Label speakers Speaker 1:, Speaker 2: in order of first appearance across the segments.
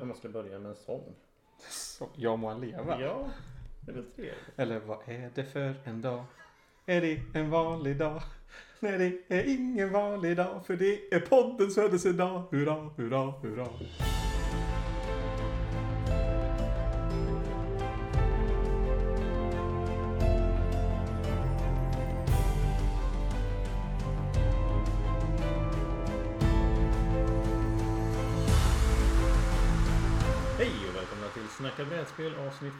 Speaker 1: Om man ska börja med en sång.
Speaker 2: Så, jag må han leva.
Speaker 1: Ja, det är väl trevligt.
Speaker 2: Eller vad är det för en dag? Är det en vanlig dag? Nej, det är ingen vanlig dag, för det är poddens födelsedag. Hurra, hurra, hurra.
Speaker 1: Hej och välkomna till Snacka brädspel avsnitt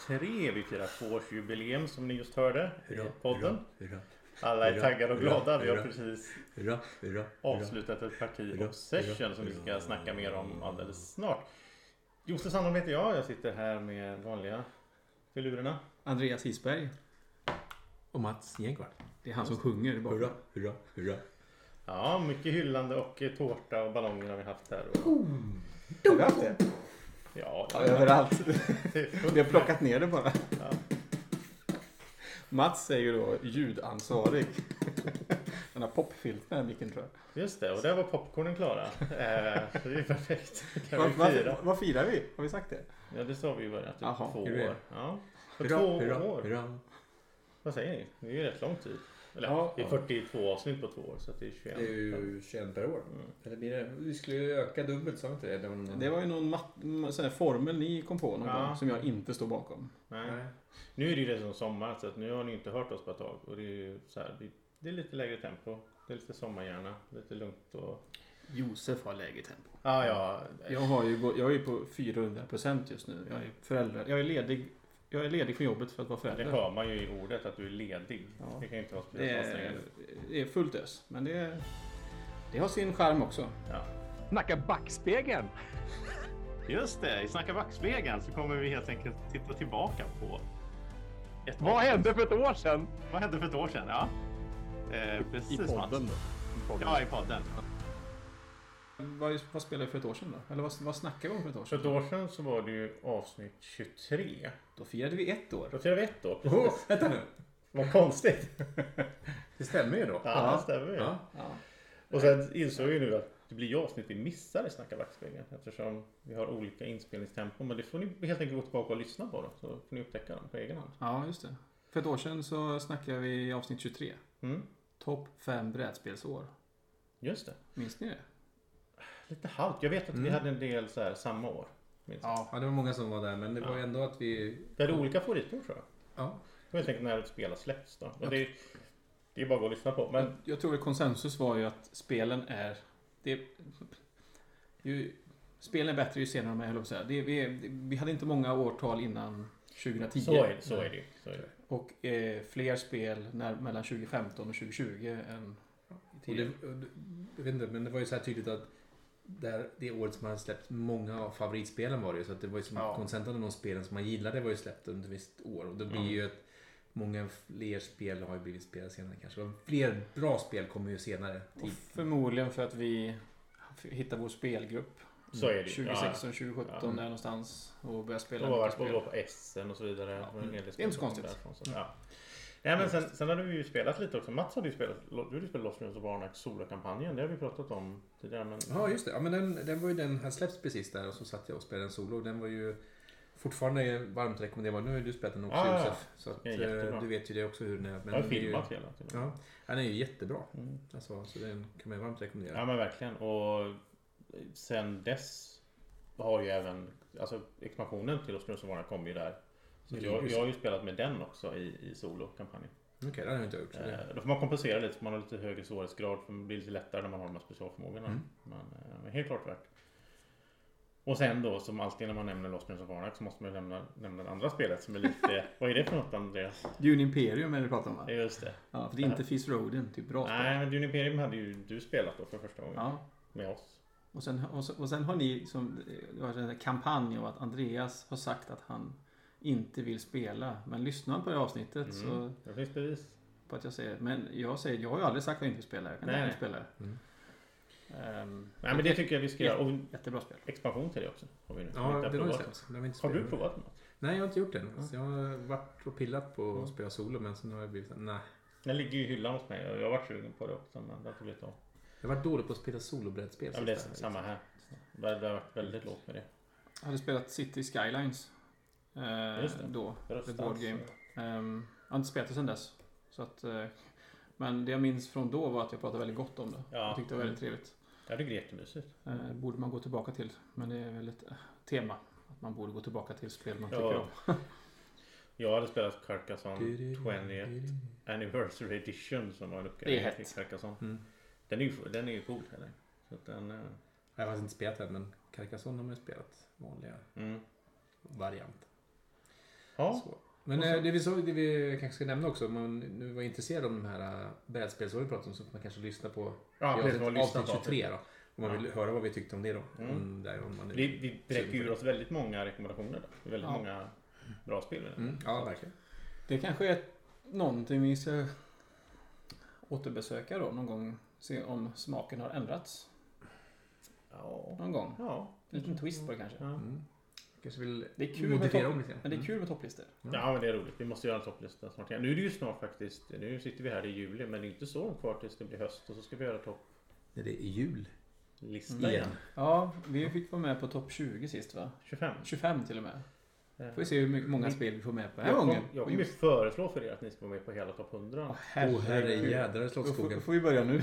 Speaker 1: 43. Vi firar tvåårsjubileum som ni just hörde i podden.
Speaker 3: hurra,
Speaker 1: Alla är
Speaker 3: hurra,
Speaker 1: taggade och
Speaker 3: hurra,
Speaker 1: glada. Vi har
Speaker 3: hurra.
Speaker 1: precis
Speaker 3: hurra, hurra, hurra.
Speaker 1: avslutat ett parti
Speaker 3: Hurra,
Speaker 1: Obsession
Speaker 3: hurra,
Speaker 1: som vi ska
Speaker 3: hurra.
Speaker 1: snacka mer om alldeles snart. Josef Sandholm heter jag. Jag sitter här med vanliga filurerna.
Speaker 4: Andreas Isberg.
Speaker 3: Och Mats Gengvall.
Speaker 4: Det är han som sjunger bara.
Speaker 3: Hurra, hurra, hurra.
Speaker 1: Ja, mycket hyllande och eh, tårta och ballonger har vi haft här. Och,
Speaker 2: Har vi haft det?
Speaker 1: ja,
Speaker 4: Ja, överallt.
Speaker 1: det är fullt
Speaker 4: Vi har plockat ner det bara.
Speaker 1: Ja.
Speaker 4: Mats är ju då ljudansvarig. Han har popfilt med den här micken tror jag.
Speaker 1: Just det, och där var popcornen klara. Eh, så det är perfekt. Kan
Speaker 4: Vad
Speaker 1: vi fira?
Speaker 4: vad- vad firar vi? Har vi sagt det?
Speaker 1: Ja, det sa vi ju bara. Typ
Speaker 4: Jaha,
Speaker 1: två
Speaker 3: är det det?
Speaker 1: år. Ja. För
Speaker 3: Hurra,
Speaker 1: två
Speaker 3: hurra,
Speaker 1: år.
Speaker 3: hurra.
Speaker 1: Vad säger ni? Det är ju rätt lång tid. Eller
Speaker 4: Ja,
Speaker 1: det är
Speaker 3: ja.
Speaker 1: 42 avsnitt på två år så att det är 21.
Speaker 3: Det är ju 21 per år.
Speaker 1: Mm.
Speaker 3: Eller blir det? Vi skulle ju öka dubbelt, sa vi inte det? Det var någon-
Speaker 4: Det var ju någon mat- m- sån här formel ni kom på någon
Speaker 1: Ja.
Speaker 4: gång som jag inte står bakom.
Speaker 1: Nej.
Speaker 3: Nej.
Speaker 1: Nu är det ju redan sommar så att nu har ni inte hört oss på ett tag. Och det är ju så här, det, det är lite lägre tempo. Det är lite sommarhjärna. Lite lugnt och...
Speaker 4: Josef har lägre tempo.
Speaker 1: Ah, ja,
Speaker 4: Jag, har ju, gå- jag är ju på 400% just nu. Jag är, förälder, jag, är ledig, jag är ledig från jobbet för att vara
Speaker 1: Det
Speaker 4: förälder.
Speaker 1: hör man ju i ordet att du är ledig.
Speaker 4: Ja.
Speaker 1: Det kan ju inte vara
Speaker 4: Det
Speaker 1: speciellt
Speaker 4: är,
Speaker 1: ansträngande.
Speaker 4: det är fullt ös. Men det, är, det har sin charm också.
Speaker 1: Ja.
Speaker 5: Snacka backspegeln!
Speaker 1: Just det, i Snacka backspegeln så kommer vi helt enkelt titta tillbaka på ett
Speaker 5: Vad hände för ett år sedan?
Speaker 1: Vad hände för ett år sedan? Ja. Eh, precis, Mats.
Speaker 4: då.
Speaker 1: Ja, i podden.
Speaker 4: Vad, vad spelade vi för ett år sedan då? Eller vad, vad snackade vi om för ett år
Speaker 1: För
Speaker 4: sedan?
Speaker 1: ett år sedan så var det ju avsnitt 23.
Speaker 4: Då firade vi ett år.
Speaker 1: Då firar vi ett år.
Speaker 3: Oh, vänta nu.
Speaker 1: Vad konstigt.
Speaker 3: Det stämmer ju då.
Speaker 1: Ja, det stämmer ju.
Speaker 3: Ja.
Speaker 4: Ja.
Speaker 1: Och sen insåg vi nu att det blir ju avsnitt vi missar i Snacka backspegeln. Eftersom vi har olika inspelningstempo. Men det får ni helt enkelt gå tillbaka och lyssna på då. Så får ni upptäcka dem på egen hand.
Speaker 4: ja, just det. För ett år sedan så snackade vi i avsnitt 23.
Speaker 1: Mm,
Speaker 4: Topp 5 brädspelsår.
Speaker 1: just det.
Speaker 4: Minns ni det?
Speaker 1: Lite halvt. Jag vet att vi
Speaker 3: Mm.
Speaker 1: hade en del så här samma år. Minns jag.
Speaker 3: ja, det var många som var där, men det var ju ändå att vi...
Speaker 1: Vi hade olika favoritår tror jag.
Speaker 3: Ja.
Speaker 1: Det var helt enkelt när spelet släpps då. Och det, är- det är bara att gå och lyssna på. Men
Speaker 4: Jag, jag tror att konsensus var ju att spelen är... Det, är- ju, spelen är bättre ju senare de är, höll jag på att säga. det, vi, är- vi hade inte många årtal innan 2010.
Speaker 1: så är, det- så är det ju. Så är det.
Speaker 4: Och eh, fler spel när, mellan 2015 och 2020 än
Speaker 3: Och
Speaker 4: tidigare.
Speaker 3: det, och det, jag vet inte, men det var ju så här tydligt att det, här, det året som man hade släppt många av favoritspelen var det ju. Så att det var ju som
Speaker 4: Ja.
Speaker 3: att konsentan av de spelen som man gillade var ju släppt under ett visst år. Och det blir ju att många fler spel har ju blivit spelade senare kanske. Och fler bra spel kommer ju senare. Typ.
Speaker 4: Och
Speaker 3: Tid.
Speaker 4: förmodligen för att vi hittade vår spelgrupp
Speaker 1: Så är det ju.
Speaker 4: 2016, 2017
Speaker 1: Ja.
Speaker 4: där någonstans och började spela
Speaker 1: Och var
Speaker 4: mycket
Speaker 1: på,
Speaker 4: spel.
Speaker 1: var på Essen och så vidare. Det var en hel del
Speaker 4: Det är inte så
Speaker 1: spel
Speaker 4: konstigt.
Speaker 1: därifrån, så-
Speaker 3: Mm.
Speaker 1: Ja. Nej, men sen, sen hade vi ju spelat lite också. Mats hade ju spelat, du hade ju spelat Lost Runes of Arnak solokampanjen. Det har vi pratat om tidigare. Men
Speaker 3: Ja, just det. Ja, men den, den var ju den här släpps precis där och så satt jag och spelade en solo. Den var ju fortfarande varmt rekommenderad. Nu har ju du spelat den också
Speaker 1: Ja, ja, ja.
Speaker 3: Josef. Så att,
Speaker 1: Den är jättebra.
Speaker 3: eh, du vet ju det också hur den är.
Speaker 1: jag
Speaker 3: Men
Speaker 1: har
Speaker 3: den är ju-
Speaker 1: filmat hela tiden.
Speaker 3: Ja, den är ju jättebra.
Speaker 1: Mm.
Speaker 3: Alltså, så den kan man ju varmt rekommendera.
Speaker 1: Ja men verkligen. Och sen dess har ju även alltså, expansionen till Lost Runes of Arnak kom ju där. Så
Speaker 3: Det
Speaker 1: jag,
Speaker 3: ligger ju
Speaker 1: jag har ju spelat med den också i, i solokampanjen.
Speaker 3: Okej, det har jag inte gjort. Så det...
Speaker 1: Eh, Då får man kompensera lite, för man har lite högre svårighetsgrad. För man blir lite lättare när man har de här specialförmågorna.
Speaker 3: Mm.
Speaker 1: Men, eh, men helt klart värt. Och sen då, som alltid när man nämner Lost Runes of Arnak så måste man ju nämna, nämna det andra spelet som är lite... vad är det för något Andreas?
Speaker 4: Dune Imperium är det du pratar om
Speaker 1: Ja,
Speaker 4: va?
Speaker 1: just det.
Speaker 4: Ja, för det är inte Fizz Roden, typ bra spel.
Speaker 1: Nej, men Dune Imperium hade ju du spelat då för första gången.
Speaker 4: Ja.
Speaker 1: Med oss.
Speaker 4: Och, sen, och, sen, och sen har ni som, det har varit en kampanj om att Andreas har sagt att han inte vill spela. Men lyssnar han på det avsnittet
Speaker 1: Mm.
Speaker 4: så
Speaker 1: Det finns bevis.
Speaker 4: på att jag säger Men jag säger, jag har ju aldrig sagt att jag inte vill spela. Jag kan
Speaker 1: Nej,
Speaker 4: aldrig
Speaker 1: nej.
Speaker 4: spela.
Speaker 3: Mm.
Speaker 4: Ehm,
Speaker 1: Nej, men det tycker jag vi ska göra. Och
Speaker 4: Jättebra spel.
Speaker 1: expansion till det också. Har vi nu. som vi
Speaker 3: Ja,
Speaker 1: inte
Speaker 3: det har jag
Speaker 1: provat.
Speaker 3: sett. Det har, vi inte
Speaker 1: Har du
Speaker 3: spelat.
Speaker 1: provat något?
Speaker 3: Nej, jag har inte gjort det. än. Så jag har varit och pillat på att spela solo, men sen har jag blivit så här, nej.
Speaker 1: Den ligger ju i hyllan hos mig och jag har varit sugen på det också. Men det har inte blivit av.
Speaker 3: Jag har varit dålig på att spela solobrädspel.
Speaker 1: Ja, men det är
Speaker 3: sista.
Speaker 1: samma här. Det har varit väldigt lågt med det.
Speaker 4: hade spelat City Skylines. Eh,
Speaker 1: Just det.
Speaker 4: då. The
Speaker 1: Röstans.
Speaker 4: board game. Ehm, jag har inte spelat det sedan dess. Så att, eh, men det jag minns från då var att jag pratade väldigt gott om det.
Speaker 1: Ja.
Speaker 4: Jag tyckte det var väldigt trevligt.
Speaker 1: Ja, det är jättemysigt.
Speaker 4: Eh, borde man gå tillbaka till. Men det är väl ett eh, tema. Att man borde gå tillbaka till spel man
Speaker 1: Ja.
Speaker 4: tycker om.
Speaker 1: Jag hade spelat Carcassonne 20 Anniversary Edition som var en
Speaker 4: Det är
Speaker 1: uppgradering
Speaker 4: hett.
Speaker 1: till Carcassonne.
Speaker 3: Mm.
Speaker 1: Den är ju, den är ju cool. Eller? Så att den, eh,
Speaker 3: Jag har faktiskt inte spelat den, men Carcassonne har man ju spelat. Vanliga
Speaker 1: mm.
Speaker 3: variant.
Speaker 1: Ja,
Speaker 3: Så. Men
Speaker 1: Och så-
Speaker 3: eh, det, vi så, det vi kanske ska nämna också, om man nu var intresserad av de här eh, brädspel som vi pratade om, så får man kanske lyssna på
Speaker 1: ja
Speaker 3: vi har
Speaker 1: precis.
Speaker 3: ett
Speaker 1: Man lyssnar
Speaker 3: avsnitt
Speaker 1: på
Speaker 3: 23 då. Om man vill höra vad vi tyckte om det då.
Speaker 1: Mm.
Speaker 3: Om där, om man är
Speaker 1: Vi, vi
Speaker 3: sugen
Speaker 1: bräcker
Speaker 3: på
Speaker 1: ur
Speaker 3: det.
Speaker 1: oss väldigt många rekommendationer. Där. Det är väldigt
Speaker 4: Ja.
Speaker 1: många bra spel. i den.
Speaker 3: Mm, ja, verkligen.
Speaker 4: Det kanske är någonting vi ska återbesöka då någon gång. Se om smaken har ändrats
Speaker 1: Ja.
Speaker 4: någon gång.
Speaker 1: Ja.
Speaker 4: En liten twist på det kanske.
Speaker 1: Ja.
Speaker 3: Mm. Kanske vill
Speaker 4: Det är kul med
Speaker 3: modifiera
Speaker 4: topp-
Speaker 3: om lite grann.
Speaker 4: Men det är
Speaker 3: Mm.
Speaker 4: kul med topplistor.
Speaker 1: ja, men det är roligt. Vi måste göra en topplista snart igen. Nu är det ju snart faktiskt. Nu sitter vi här i juli, men det är inte så långt kvar tills det blir höst. Och så ska vi göra
Speaker 3: Nej, det är jul
Speaker 1: topplista
Speaker 4: Mm.
Speaker 3: igen.
Speaker 1: igen.
Speaker 4: Ja, vi fick vara med på topp 20 sist va?
Speaker 1: 25.
Speaker 4: 25 till och med.
Speaker 1: Eh,
Speaker 4: Får vi se hur mycket- många spel vi får med på den här
Speaker 1: jag,
Speaker 4: gången.
Speaker 1: kom, jag kommer ju föreslå för er att ni ska vara med på hela topp 100.
Speaker 4: Åh,
Speaker 3: Åh
Speaker 4: herregud.
Speaker 3: herrejädrar i
Speaker 4: Då får, då
Speaker 3: Slottsskogen.
Speaker 4: får vi börja nu.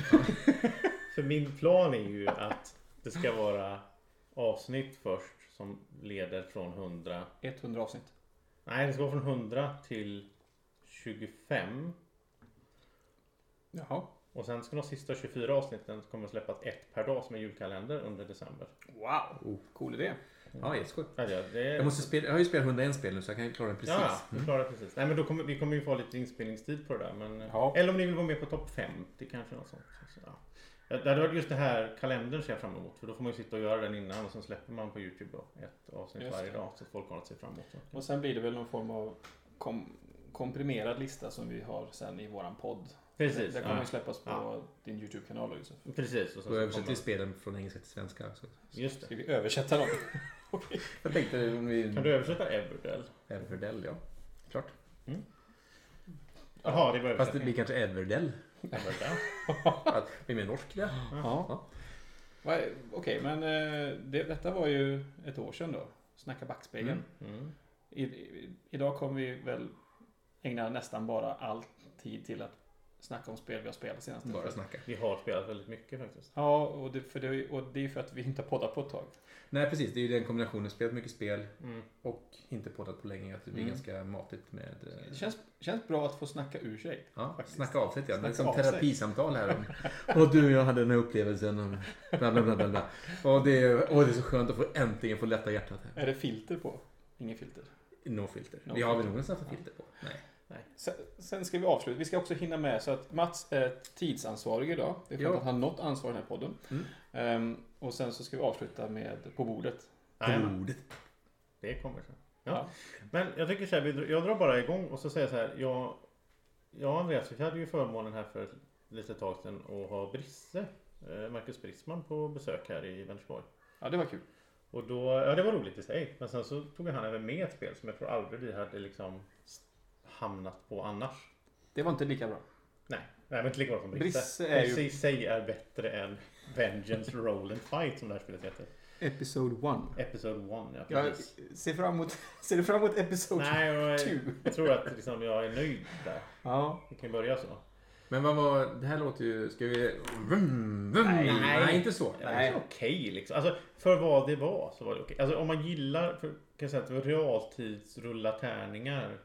Speaker 1: För min plan är ju att det ska vara avsnitt först som leder från 100.
Speaker 4: 100 avsnitt.
Speaker 1: Nej, det ska vara från 100 till 25.
Speaker 4: Jaha.
Speaker 1: Och sen ska de sista 24 avsnitten kommer släppas ett per dag som en julkalender under december.
Speaker 4: Wow! Cool idé.
Speaker 3: Ja, jätteskoj.
Speaker 1: Ja, det- det är...
Speaker 3: Jag, måste spela, jag har ju spelat 101 spel nu så jag kan ju klara den precis.
Speaker 1: Ja,
Speaker 4: Mm.
Speaker 1: vi klarar precis. Nej, men då kommer, vi kommer ju få ha lite inspelningstid på det där. Men, eh,
Speaker 4: Ja.
Speaker 1: Eller om ni vill vara med på topp 50 kanske. Något sånt. Så, ja. Ja, Det hade varit just det här kalendern ser jag fram emot. För då får man ju sitta och göra den innan och sen släpper man på Youtube då, ett avsnitt
Speaker 4: Just
Speaker 1: varje
Speaker 4: det.
Speaker 1: dag. Så att folk har något att se fram emot.
Speaker 4: Och sen blir det väl någon form av kom, komprimerad lista som vi har sen i våran podd.
Speaker 1: Precis.
Speaker 4: Det kommer
Speaker 1: Ja.
Speaker 4: ju släppas på
Speaker 1: Ja.
Speaker 4: din YouTube-kanal då Josef.
Speaker 1: Precis. Och sen
Speaker 3: Och
Speaker 1: så
Speaker 3: jag översätter ju
Speaker 1: kommer...
Speaker 3: spelen från engelska till svenska också.
Speaker 1: Just det.
Speaker 4: Ska vi översätta dem?
Speaker 3: Jag tänkte om vi...
Speaker 1: Kan du översätta Everdell?
Speaker 3: Edverdell, ja. Klart.
Speaker 1: Jaha, det var
Speaker 3: Fast det
Speaker 1: översättning.
Speaker 3: blir kanske Edverdell.
Speaker 1: Everdell.
Speaker 3: Att vi är mer norsk det.
Speaker 4: ja. Va- Okej, men eh, det, detta var ju ett år sedan då. Snacka backspegeln.
Speaker 3: Mm.
Speaker 1: Mm.
Speaker 4: I, i, idag kommer vi väl ägna nästan bara all tid till att snacka om spel vi har spelat senaste
Speaker 3: Bara
Speaker 4: året.
Speaker 3: snacka.
Speaker 1: Vi har spelat väldigt mycket faktiskt.
Speaker 4: Ja, och det, för det, och det är ju för att vi inte har poddat på ett
Speaker 3: Mm.
Speaker 4: tag.
Speaker 3: Nej precis, det är ju den kombinationen. Spelat mycket spel
Speaker 1: Mm.
Speaker 3: och inte poddat på länge. Att det blir
Speaker 4: Mm.
Speaker 3: ganska matigt med... eh,
Speaker 4: Det känns, känns bra att få snacka ur sig.
Speaker 3: Ja,
Speaker 4: faktiskt.
Speaker 3: snacka av sig lite grann. Det är
Speaker 4: Snacka
Speaker 3: som
Speaker 4: av sig.
Speaker 3: terapisamtal här. om, Åh du, jag hade den här upplevelsen. Och bla bla bla bla. bla. Och det, är, åh, det är så skönt att få, äntligen få lätta hjärtat här.
Speaker 4: Är det filter på? Ingen filter.
Speaker 3: No filter.
Speaker 4: No
Speaker 3: vi har väl
Speaker 4: filter.
Speaker 3: någon sån här filter på? Nej.
Speaker 4: Sen, sen ska vi avsluta. Vi ska också hinna med så att Mats är tidsansvarig idag. Det är skönt
Speaker 3: Ja.
Speaker 4: att han nått ansvar i den här podden.
Speaker 3: Mm.
Speaker 4: Ehm, och sen så ska vi avsluta med På bordet.
Speaker 1: Nej, men-
Speaker 3: Ordet.
Speaker 1: Det kommer sen.
Speaker 4: Ja.
Speaker 1: Ja. Men jag tycker så här, vi dr- jag drar bara igång och så säger jag så här. Jag, jag och Andreas, vi hade ju förmånen här för ett litet tag sedan att ha Brisse, eh, Marcus Brisman på besök här i Vänersborg.
Speaker 4: Ja, det var kul.
Speaker 1: Och då, ja det var roligt i sig. Men sen så tog han även med ett spel som jag tror aldrig vi hade liksom s- hamnat på annars.
Speaker 4: Det var inte lika bra.
Speaker 1: Nej, nej men inte lika bra som Brisse.
Speaker 4: Brisse är ju-
Speaker 1: Brisse i sig är bättre än Vengeance Roll and Fight som det här spelet heter.
Speaker 4: Episode 1.
Speaker 1: Episode 1, ja
Speaker 4: Jag
Speaker 1: precis.
Speaker 4: ser fram emot, ser du fram emot Episode
Speaker 1: Nej, jag,
Speaker 4: 2?
Speaker 1: jag tror att liksom, jag är nöjd där.
Speaker 4: Ja.
Speaker 1: Vi kan ju börja så.
Speaker 3: Men vad var... Det här låter ju... Ska vi... Vum, vum.
Speaker 1: Nej.
Speaker 3: Nej, inte så.
Speaker 1: Ja, Det är okej liksom. Alltså, för vad det var så var det okej. Alltså, om man gillar, för, kan jag säga att det var realtidsrulla tärningar.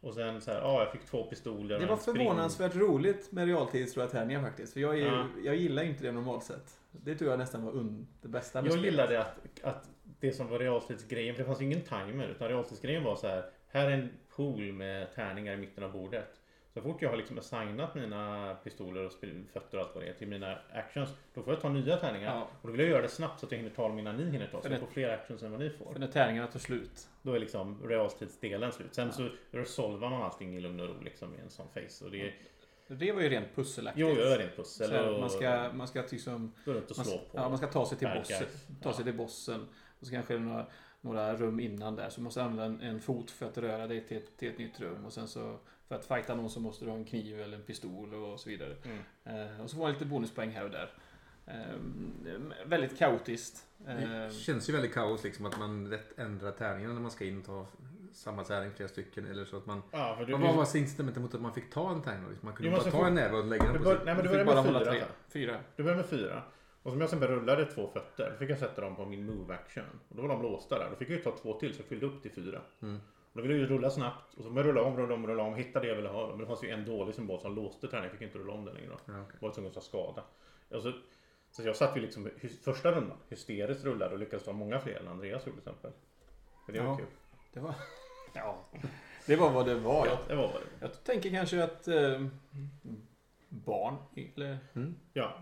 Speaker 1: Och sen så här, ja ah, jag fick två pistoler. och
Speaker 4: Det var
Speaker 1: en spring.
Speaker 4: förvånansvärt roligt med realtidsrullatärningar faktiskt. För jag, är, ju-
Speaker 1: Ja.
Speaker 4: jag gillar ju inte det normalt sett. Det tror jag nästan var un, det bästa med
Speaker 1: Jag
Speaker 4: spelet.
Speaker 1: gillade att, att det som var realtidsgrejen, för det fanns ju ingen timer. Utan realtidsgrejen var så här, här är en pool med tärningar i mitten av bordet. Så fort jag har liksom assignat mina pistoler och spil- fötter och allt vad det är till mina actions. Då får jag ta nya tärningar.
Speaker 4: Ja.
Speaker 1: Och då vill jag göra det snabbt så att jag hinner ta dem innan ni hinner ta.
Speaker 4: För
Speaker 1: Så jag
Speaker 4: det-
Speaker 1: får fler actions än vad ni får.
Speaker 4: För när tärningarna tar slut.
Speaker 1: Då är liksom realtidsdelen slut. Sen så resolvar man allting i lugn och ro liksom i en sån face. Och det är,
Speaker 4: Det var ju rent pusselaktigt.
Speaker 1: jo, jag gör rent pussel
Speaker 4: Så här,
Speaker 1: och
Speaker 4: man ska, man ska liksom...
Speaker 1: gå runt och
Speaker 4: Man,
Speaker 1: slå
Speaker 4: s-
Speaker 1: på.
Speaker 4: ja, man ska ta sig till
Speaker 1: bad
Speaker 4: bossen.
Speaker 1: guys.
Speaker 4: Ta
Speaker 1: Ja.
Speaker 4: sig till bossen. Och så kanske det är några, några rum innan där. Så måste du använda en, en fot för att röra dig till, ett- till ett nytt rum. Och sen så... För att fighta någon så måste du ha en kniv eller en pistol och så vidare.
Speaker 1: Mm.
Speaker 4: Eh, och så får man lite bonuspoäng här och där. Eh, väldigt kaotiskt.
Speaker 1: Mm.
Speaker 4: Eh,
Speaker 3: Det känns ju väldigt kaos liksom att man rätt ändrar tärningarna när man ska in och ta samma tärning flera stycken. Eller så att man...
Speaker 1: Ja, för du,
Speaker 3: Vad var incitamentet mot att man fick ta en tärning? då? Liksom, Man
Speaker 1: Jo,
Speaker 3: kunde
Speaker 1: men
Speaker 3: bara
Speaker 4: alltså
Speaker 1: så
Speaker 3: ta
Speaker 1: fort-
Speaker 3: en näve och lägga
Speaker 1: du,
Speaker 3: den på
Speaker 1: bör,
Speaker 3: sig.
Speaker 1: nej, men du
Speaker 4: fick
Speaker 1: börjar
Speaker 4: bara
Speaker 1: med
Speaker 4: hålla
Speaker 1: fyra.
Speaker 4: tre.
Speaker 1: va?
Speaker 4: Fyra.
Speaker 1: Du börjar med fyra. Och som jag sen bara rullade två fötter, då fick jag sätta dem på min move action. Och då var de låsta där. Då fick jag ju ta två till så jag fyllde upp till fyra.
Speaker 3: Mm.
Speaker 1: Och då ville jag ju rulla snabbt. Och så började jag rulla om, rulla om, rulla om. Hitta det jag ville ha. Men det fanns ju en dålig symbol som låste tärningen. Jag fick inte rulla om den längre. Då.
Speaker 3: Ja, okej.
Speaker 1: Jag var tvungen att ta skada. Och så, så jag satt ju liksom hy- första rundan hysteriskt rullade och lyckades ta många fler än Andreas gjorde till exempel. Men det var
Speaker 4: Ja.
Speaker 1: kul.
Speaker 4: Det var... Ja. Det var vad det var. Jag,
Speaker 1: Ja, det var vad det var.
Speaker 4: jag tänker kanske att eh, barn, eller
Speaker 1: Ja.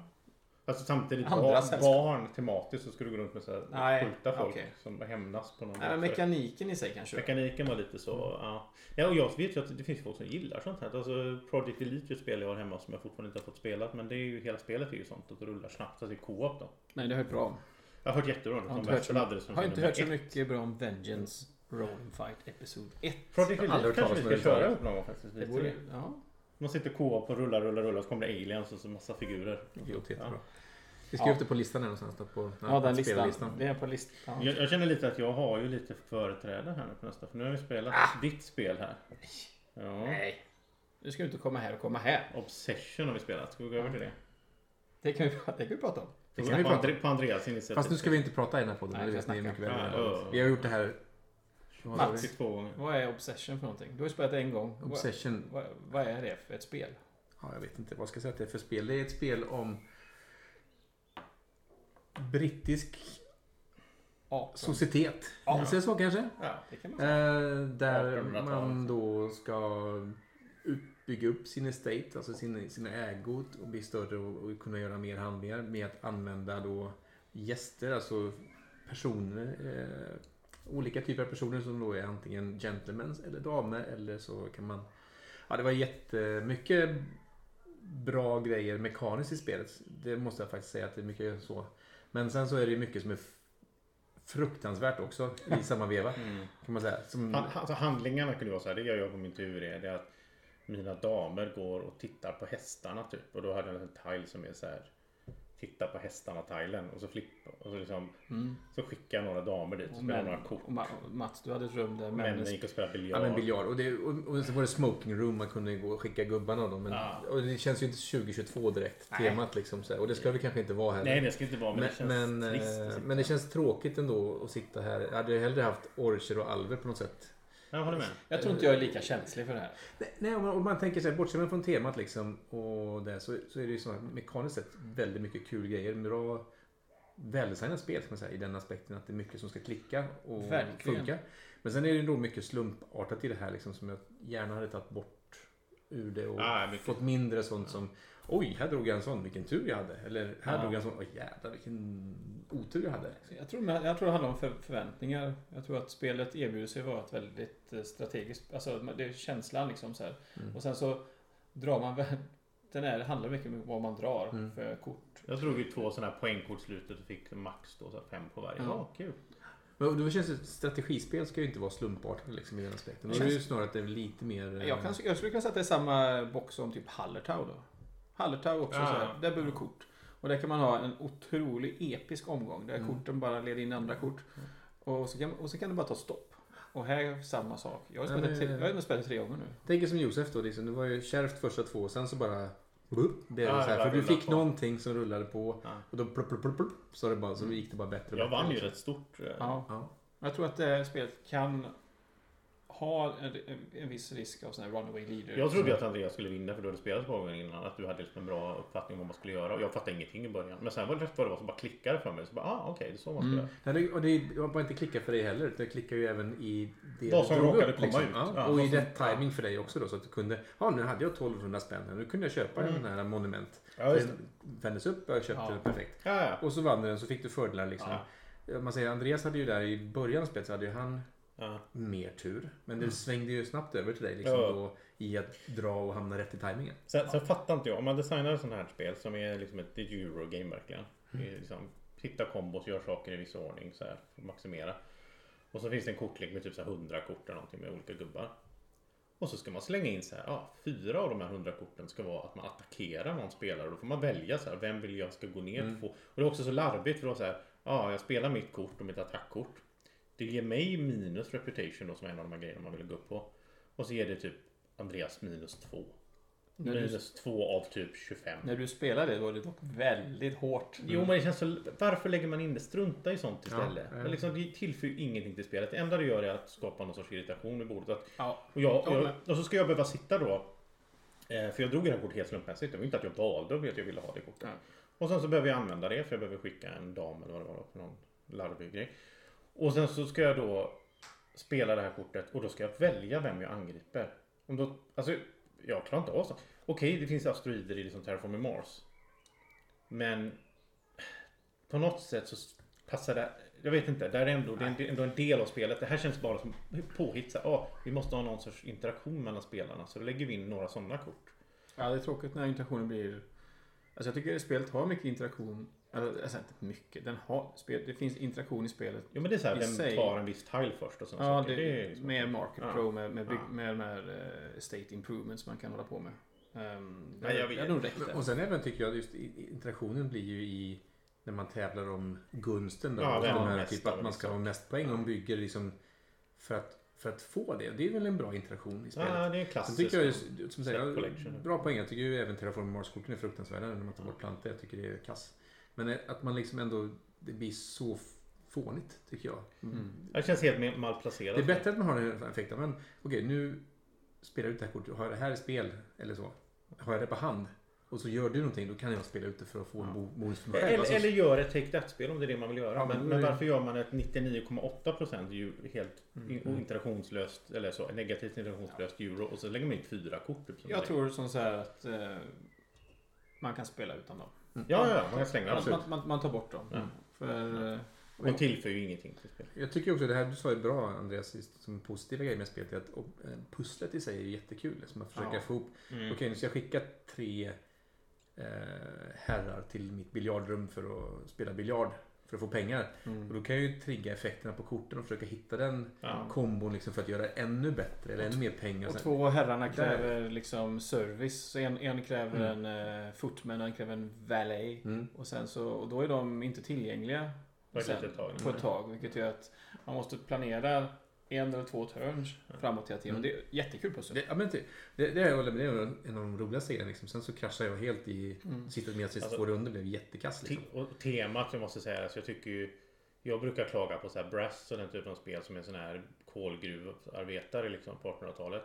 Speaker 1: Alltså samtidigt,
Speaker 4: Andra
Speaker 1: barn,
Speaker 4: sällskap.
Speaker 1: barn tematiskt så skulle du gå runt med så här
Speaker 4: Nej,
Speaker 1: skjuta folk
Speaker 4: okej.
Speaker 1: som hämnas på någon.
Speaker 4: nej, men mekaniken i sig kanske.
Speaker 1: Mekaniken var lite så,
Speaker 4: Mm.
Speaker 1: ja. ja. Och jag vet ju att det finns folk som gillar sånt här. Alltså Project Elite är ett spel jag har hemma som jag fortfarande inte har fått spelat. Men det är ju, hela spelet är ju sånt att det rullar snabbt. Alltså det är co-op då.
Speaker 4: Nej, det har jag bra om.
Speaker 1: Jag har hört jättebra om
Speaker 4: Jag har
Speaker 1: det.
Speaker 4: inte
Speaker 1: De
Speaker 4: hört så,
Speaker 1: laddade som
Speaker 4: har inte
Speaker 1: nummer
Speaker 4: hört så
Speaker 1: ett.
Speaker 4: mycket bra om Vengeance Rolling Fight Episod 1.
Speaker 1: Project
Speaker 3: Jag har aldrig
Speaker 1: Elite
Speaker 3: hört
Speaker 1: kanske vi
Speaker 3: talas om
Speaker 1: ska
Speaker 3: det
Speaker 1: köra
Speaker 3: överhuvudtaget.
Speaker 1: upp någon gång faktiskt.
Speaker 4: Det borde, ja.
Speaker 1: Man sitter co-op och rullar, rullar, rullar. Så kommer det aliens och så massa figurer.
Speaker 3: Det låter jättebra.
Speaker 1: Ja.
Speaker 3: Vi ska
Speaker 4: Ja.
Speaker 3: upp det på listan här någonstans. Då, på,
Speaker 4: ja, den listan.
Speaker 3: spellistan.
Speaker 4: Det är på listan.
Speaker 1: Jag, jag känner lite att jag har ju lite företräde här nu på nästa. För nu har vi spelat
Speaker 3: Ah!
Speaker 1: ditt spel här. Ja.
Speaker 4: Nej. Nu ska du inte komma här och komma här.
Speaker 1: Obsession har vi spelat. Ska vi gå över till det?
Speaker 4: Det kan vi, det kan vi prata om.
Speaker 1: Det
Speaker 3: kan vi
Speaker 1: kan på,
Speaker 3: prata
Speaker 1: Andre, på Andreas initiativ.
Speaker 3: Fast nu ska vi inte prata i den här podden.
Speaker 4: Nej,
Speaker 3: det
Speaker 4: vi
Speaker 3: vet ni
Speaker 4: snackar.
Speaker 3: mycket väl.
Speaker 1: Ja, ja.
Speaker 3: Vi har gjort det här. vad var det?
Speaker 1: Mats. Två gånger.
Speaker 4: Vad är Obsession för någonting? Du har ju spelat det en gång. Vad-
Speaker 3: Obsession.
Speaker 4: Vad, vad är det för ett spel?
Speaker 3: Ja, jag vet inte vad jag ska säga att det är för spel. Det är ett spel om brittisk
Speaker 4: Ja,
Speaker 3: societet.
Speaker 4: Ja.
Speaker 3: Ja. Säger så kanske?
Speaker 1: Ja.
Speaker 4: det kan man säga.
Speaker 3: Eh, där
Speaker 1: 1800-talet.
Speaker 3: man då ska upp, bygga upp sin estate, alltså sina, sina ägor och bli större och, och kunna göra mer handlingar med att använda då gäster, alltså personer. Eh, olika typer av personer som då är antingen gentlemen eller damer eller så kan man... Ja, det var jättemycket bra grejer mekaniskt i spelet. Det måste jag faktiskt säga att det är mycket så. Men sen så är det ju mycket som är f- fruktansvärt också i samma veva. Kan man säga. Som,
Speaker 1: Han, han- alltså handlingarna kunde vara så här, det jag gör på min tur är det att mina damer går och tittar på hästarna typ. Och då hade jag en tile som är så här. Titta på hästarna tilen och så flippa. Och så, liksom,
Speaker 3: Mm.
Speaker 1: så skickar jag några damer dit och
Speaker 4: Och
Speaker 1: spelar
Speaker 4: män-
Speaker 1: några kort.
Speaker 4: och Ma- och Mats, du hade ett rum där männen...
Speaker 1: Männen gick och spelade biljard.
Speaker 3: Ja, men biljard. Och, det, och, och så var det smoking room, man kunde gå och skicka gubbarna och dem. Men,
Speaker 1: Ja.
Speaker 3: Och det känns ju inte 2022 direkt, temat liksom. Så här. Och det ska vi kanske inte vara heller.
Speaker 1: Nej det ska inte vara men,
Speaker 3: men,
Speaker 1: det känns
Speaker 3: men, eh,
Speaker 1: trist. liksom. att sitta.
Speaker 3: men det känns tråkigt ändå att sitta här. Jag hade hellre haft orcher och alver på något sätt.
Speaker 1: Jag håller med.
Speaker 4: Jag tror inte jag är lika känslig för det här.
Speaker 3: Nej, Nej, om man, om man tänker sig bortsett från temat liksom och det, så, så är det ju såna, mekaniskt sett väldigt mycket kul grejer. Bra väldesignat spel ska man säga i den aspekten att det är mycket som ska klicka och
Speaker 4: Verkligen.
Speaker 3: funka. Men sen är det ju då mycket slumpartat i det här liksom som jag gärna hade tagit bort ur det och
Speaker 4: Ah,
Speaker 1: Ja, mycket.
Speaker 3: fått mindre sånt som Oj, här drog jag en sån, vilken tur jag hade. Eller här
Speaker 4: Ja.
Speaker 3: drog jag en sån, oj jävlar vilken otur jag hade.
Speaker 4: Jag tror, jag tror det handlar om för, förväntningar. Jag tror att spelet erbjuder sig vara ett väldigt eh, strategiskt... Alltså det är känslan liksom så här.
Speaker 3: Mm.
Speaker 4: Och sen så drar man... väl- Den här handlar mycket om vad man drar
Speaker 3: Mm.
Speaker 4: för kort.
Speaker 1: Jag drog ju två sådana här poängkort i slutet och fick max då, så här, fem på varje.
Speaker 3: Ja.
Speaker 1: Ja, kul.
Speaker 3: Men det känns det, strategispel ska ju inte vara slumpartat liksom i den aspekten. Då är det ju snarare att det är lite mer... eh,
Speaker 4: Jag, kan, jag skulle kunna sätta i samma box som typ Hallertau då. Hallertau också
Speaker 1: Ja.
Speaker 4: så här. Där behöver du kort. Och där kan man ha en otrolig episk omgång där
Speaker 3: Mm.
Speaker 4: korten bara leder in andra kort. Och så kan, och så kan du bara ta stopp. Och här är samma sak. Jag har
Speaker 3: Ja,
Speaker 4: spelat,
Speaker 3: men-
Speaker 4: tre- jag har ändå spelat tre gånger nu.
Speaker 3: Tänk er som Josef då, liksom, det var ju kärvt första två och sen så bara Bup, blev det
Speaker 1: Ja,
Speaker 3: så här,
Speaker 1: det
Speaker 3: för du
Speaker 1: rullar
Speaker 3: fick
Speaker 1: på.
Speaker 3: någonting som rullade på
Speaker 1: Ja.
Speaker 3: och då plupp, plupp, plupp, plupp, så, det bara, så gick det bara bättre och
Speaker 1: Mm. Jag
Speaker 3: bättre,
Speaker 1: vann ju
Speaker 3: liksom.
Speaker 1: rätt stort. eh,
Speaker 4: Ja.
Speaker 3: Ja.
Speaker 4: Jag tror att det här spelet kan ha en, en viss risk av sån här runaway leader.
Speaker 1: Jag trodde ju att Andreas skulle vinna för du hade spelat ett par gånger innan. Att du hade liksom en bra uppfattning om vad man skulle göra. Och jag fattade ingenting i början. Men sen var det rätt vad det var som bara klickade för mig. Så bara, ah okej, det är så man ska göra.
Speaker 3: Nej, det, och det var bara inte klicka för dig heller, utan det klickar ju även i det
Speaker 1: Vad som
Speaker 3: du drog liksom.
Speaker 1: råkade komma ut.
Speaker 3: Ja,
Speaker 1: Ja,
Speaker 3: och
Speaker 1: vad
Speaker 3: i
Speaker 1: som-
Speaker 3: rätt timing för dig också då, så att du kunde, ja nu hade jag 1200 spänn här, nu kunde jag köpa den här monument.
Speaker 1: Mm. Ja, just
Speaker 3: den vändes upp och jag köpte
Speaker 4: Ja.
Speaker 3: den perfekt.
Speaker 1: Ja, ja.
Speaker 3: Och så vann du den, så fick du fördelar liksom. Om Man säger Andreas hade ju där i början av spelet så hade ju han
Speaker 1: ja.
Speaker 3: mer tur. Men det svängde ju snabbt över till dig liksom,
Speaker 1: Mm. Ja.
Speaker 3: då, i att dra och hamna rätt i tajmingen.
Speaker 1: Sen, sen fattar inte jag. Om man designar ett sånt här spel som är liksom ett, det är ett Eurogame verkligen. Det är liksom, hitta kombos, gör saker i viss ordning så här, för att maximera. Och så finns det en kortlek med typ så här 100 kort eller någonting med olika gubbar. Och så ska man slänga in så här, ja, fyra av de här hundra korten ska vara att man attackerar någon spelare. Och då får man välja så här, vem vill jag ska gå ner på? Och det är också så larvigt för då så här, ja, jag spelar mitt kort och mitt attackkort. Det ger mig minus reputation då som är en av de här grejerna man vill gå upp på. Och så ger det typ Andreas minus två.
Speaker 4: När du-
Speaker 1: Minus två av typ 25.
Speaker 4: När du spelar det var det dock väldigt hårt.
Speaker 1: Jo men det känns så, varför lägger man in det? Strunta i sånt istället.
Speaker 3: Mm. Ja, ja.
Speaker 1: men liksom, det tillför ju ingenting till spelet. Det enda det gör är att skapa någon sorts irritation vid bordet. Att
Speaker 4: Ja.
Speaker 1: och, jag,
Speaker 4: Ja,
Speaker 1: jag, och så ska jag behöva sitta då. eh, För jag drog det här kortet helt slumpmässigt. Det var inte att jag valde vet jag ville ha det kortet.
Speaker 4: Ja.
Speaker 1: Och sen så behöver jag använda det för jag behöver skicka en dam eller vad det var för någon larvig grej. Och sen så ska jag då spela det här kortet och då ska jag välja vem jag angriper. Om då, alltså, jag klarar inte av sånt. Okej, det finns asteroider i liksom Terraforming Mars. Men på något sätt så passar det. Jag vet inte, där är ändå, det är en- det är ändå en del av spelet. Det här känns bara som påhitt. så här, "Ah, vi måste ha någon sorts interaktion mellan spelarna. Så då lägger vi in några sådana kort.
Speaker 4: Ja, det är tråkigt när interaktionen blir... Alltså jag tycker att spelet har mycket interaktion. Alltså alltså inte mycket. Den har... spel- Det finns interaktion i spelet.
Speaker 1: Jo men det är så här,
Speaker 4: I
Speaker 1: vem
Speaker 4: sig.
Speaker 1: tar en viss tile först och sådana
Speaker 4: Ja,
Speaker 1: saker.
Speaker 4: det,
Speaker 1: Det är liksom-
Speaker 4: med Market
Speaker 1: Ja.
Speaker 4: Pro, med, med, bygg,
Speaker 1: Ja.
Speaker 4: med de här eh, State Improvements man kan hålla på med. Um,
Speaker 1: Nej, jag
Speaker 4: Det
Speaker 1: vet.
Speaker 4: är nog räckt
Speaker 3: Men-
Speaker 4: där.
Speaker 3: Och sen även tycker jag att just i- i- interaktionen blir ju i när man tävlar om gunsten. Då,
Speaker 1: Ja,
Speaker 3: ja,
Speaker 1: vem har
Speaker 3: här,
Speaker 1: mest
Speaker 3: typ
Speaker 1: av
Speaker 3: att man ska
Speaker 1: liksom.
Speaker 3: ha mest poäng. och bygger liksom för att, för att få det. Det är väl en bra interaktion i spelet.
Speaker 1: Ja, det är
Speaker 3: Sen
Speaker 1: klassiskt.
Speaker 3: tycker jag ju, som
Speaker 1: Set
Speaker 3: säger,
Speaker 1: collection.
Speaker 3: bra poäng. Jag tycker ju även Terraform Mars-korten är fruktansvärda när man tar bort plantor. Jag tycker det är kass. Men eh, att man liksom ändå, det blir så f- fånigt tycker jag.
Speaker 4: Mm.
Speaker 1: Det känns helt mal- malplacerat.
Speaker 3: Det är bättre att man har den effekten. Men okej, nu spelar jag ut det här kortet. Har jag det här i spel eller så? Har jag det på hand? Och så gör du någonting, då kan jag spela ut det för att få en bo- bonus för mig själv.
Speaker 1: Eller,
Speaker 3: Alltså,
Speaker 1: eller gör ett take that-spel om det är det man vill göra.
Speaker 3: Ja, men
Speaker 1: men,
Speaker 3: då är
Speaker 1: men
Speaker 3: det-
Speaker 1: varför gör man ett 99,8% ju helt
Speaker 3: Mm.
Speaker 1: in- interaktionslöst, eller så, negativt interaktionslöst euro och så lägger man in fyra kort? Typ, som
Speaker 4: Jag
Speaker 1: det-
Speaker 4: tror som så här att eh, man kan spela utan dem.
Speaker 1: Ja, ja, man kan slänga
Speaker 4: Man,
Speaker 1: absolut.
Speaker 4: man, man, man tar bort dem. För, eh,
Speaker 1: Hon tillför ju ingenting till spelet.
Speaker 3: Jag tycker också det här du sa är bra Andreas, just som positiva grejer med spelet är att och, eh, pusslet i sig är jättekul. Som att försöka
Speaker 4: Ja. Mm.
Speaker 3: få ihop. Okej, nu ska jag skicka tre eh, herrar till mitt biljardrum för att spela biljard. För att få pengar. Och då kan jag ju trigga effekterna på korten och försöka hitta den
Speaker 1: Ja.
Speaker 3: kombon liksom för att göra det ännu bättre. Eller ännu mer pengar.
Speaker 4: Och
Speaker 3: sen-
Speaker 4: två av herrarna kräver liksom service. Så En, en kräver
Speaker 1: Mm.
Speaker 4: en uh, footman och en kräver en valet.
Speaker 3: Mm.
Speaker 4: Och, sen så, och då är de inte tillgängliga
Speaker 1: På ett
Speaker 4: sen,
Speaker 1: litet tag.
Speaker 4: på ett tag. Vilket gör att man måste planera en eller två turns framåt hela tiden.
Speaker 1: Mm.
Speaker 4: Och det är jättekul pussel.
Speaker 3: Det, ja, men det, det, det, är, det är en av de roligaste grejerna. Liksom. Sen så kraschar jag helt i...
Speaker 4: Mm.
Speaker 3: Sitter med sista
Speaker 1: Alltså- Typ.
Speaker 3: två runder blev jättekass. Liksom.
Speaker 1: Te- och temat, jag måste säga, alltså jag tycker ju... Jag brukar klaga på så här brass och den typen av spel som är sån här kolgruvarbetare liksom på 1800-talet.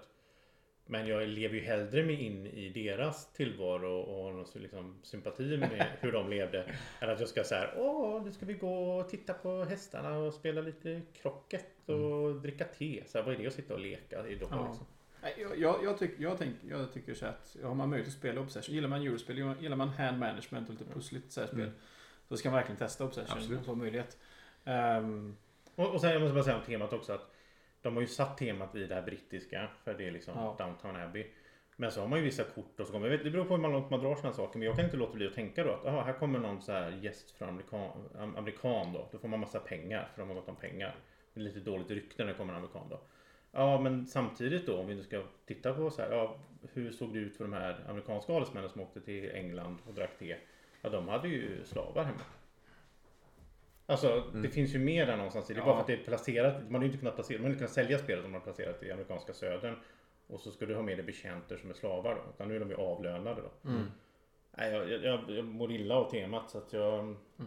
Speaker 1: Men jag lever ju hellre mig in i deras tillvaro och har någon så- liksom sympati med hur de levde. än att jag ska så här, åh, nu ska vi gå och titta på hästarna och spela lite krocket och dricka te. Så här, vad är det att sitta och leka i då?
Speaker 4: Ja.
Speaker 1: Liksom?
Speaker 4: Nej, Jag, jag, jag, tyck, jag, tänk, jag tycker så här att har man möjlighet att spela Obsession, gillar man eurospel, gillar man- gillar man hand management och lite
Speaker 1: Mm.
Speaker 4: pussligt så här spel. Så ska man verkligen testa Obsession om
Speaker 3: Absolut.
Speaker 4: man har möjlighet. Ehm,
Speaker 1: Och, och sen jag måste bara säga om temat också att de har ju satt temat i det här brittiska för det är liksom
Speaker 4: Ja.
Speaker 1: Downtown Abbey. Men så har man ju vissa kort och så kommer, jag vet- det beror på hur långt man drar sådana saker men jag kan inte låta bli att tänka då att aha, här kommer någon så här gäst från amerikan, am- amerikan då. Då får man massa pengar för de har gått om pengar. Det är lite dåligt rykte när det kommer en amerikan då. Ja men samtidigt då om vi nu ska titta på så här, ja, hur såg det ut för de här amerikanska adelsmännen som åkte till England och drack te? Ja de hade ju slavar hemma. Alltså det finns ju mer där någonstans. i Det är bara
Speaker 4: Mm. Ja.
Speaker 1: för att det är placerat. Man har ju inte kunnat placera, man har inte kunnat sälja spelet om man har placerat det i amerikanska södern. Och så ska du ha med dig betjänter som är slavar då. Utan nu är de ju avlönade då.
Speaker 4: Mm.
Speaker 1: Nej, jag, jag, jag, jag mår illa av temat så att jag...
Speaker 4: ja.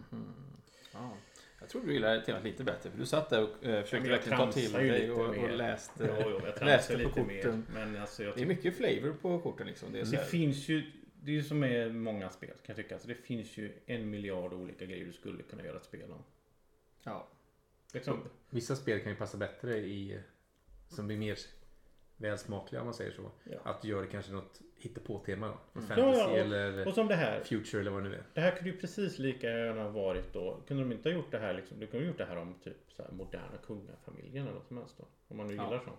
Speaker 4: Jag tror du gillar temat lite bättre för du satt där och eh,
Speaker 1: Men
Speaker 4: försökte
Speaker 1: jag
Speaker 4: verkligen ta till
Speaker 1: tramsar ju
Speaker 4: dig
Speaker 1: lite
Speaker 4: och, och
Speaker 1: mer.
Speaker 4: läste.
Speaker 1: Jo, jo, jag
Speaker 4: Läste
Speaker 1: tramsar
Speaker 4: på
Speaker 1: lite mer.
Speaker 4: korten.
Speaker 1: Men alltså jag
Speaker 4: Det är
Speaker 1: tycker...
Speaker 4: mycket flavor på korten liksom. Det är så
Speaker 1: Det
Speaker 4: här,
Speaker 1: finns ju... Det är ju som med många spel kan jag tycka. Alltså, det finns ju en miljard olika grejer du skulle kunna göra ett spel om.
Speaker 4: ja.
Speaker 1: Liksom,
Speaker 3: Vissa spel kan ju passa bättre i... Som blir mer välsmakliga om man säger så.
Speaker 1: Ja.
Speaker 3: Att du gör kanske något hittepå-tema. då. Något
Speaker 1: Ja,
Speaker 3: Fantasy
Speaker 1: ja, och-
Speaker 3: eller
Speaker 1: och som det här.
Speaker 3: future eller vad det nu är.
Speaker 1: Det här kunde ju precis lika gärna ha varit då. Kunde de inte ha gjort det här liksom? De kunde ha gjort det här om typ så här moderna kungafamiljen eller något som helst då. Om man nu
Speaker 4: Ja.
Speaker 1: gillar sånt.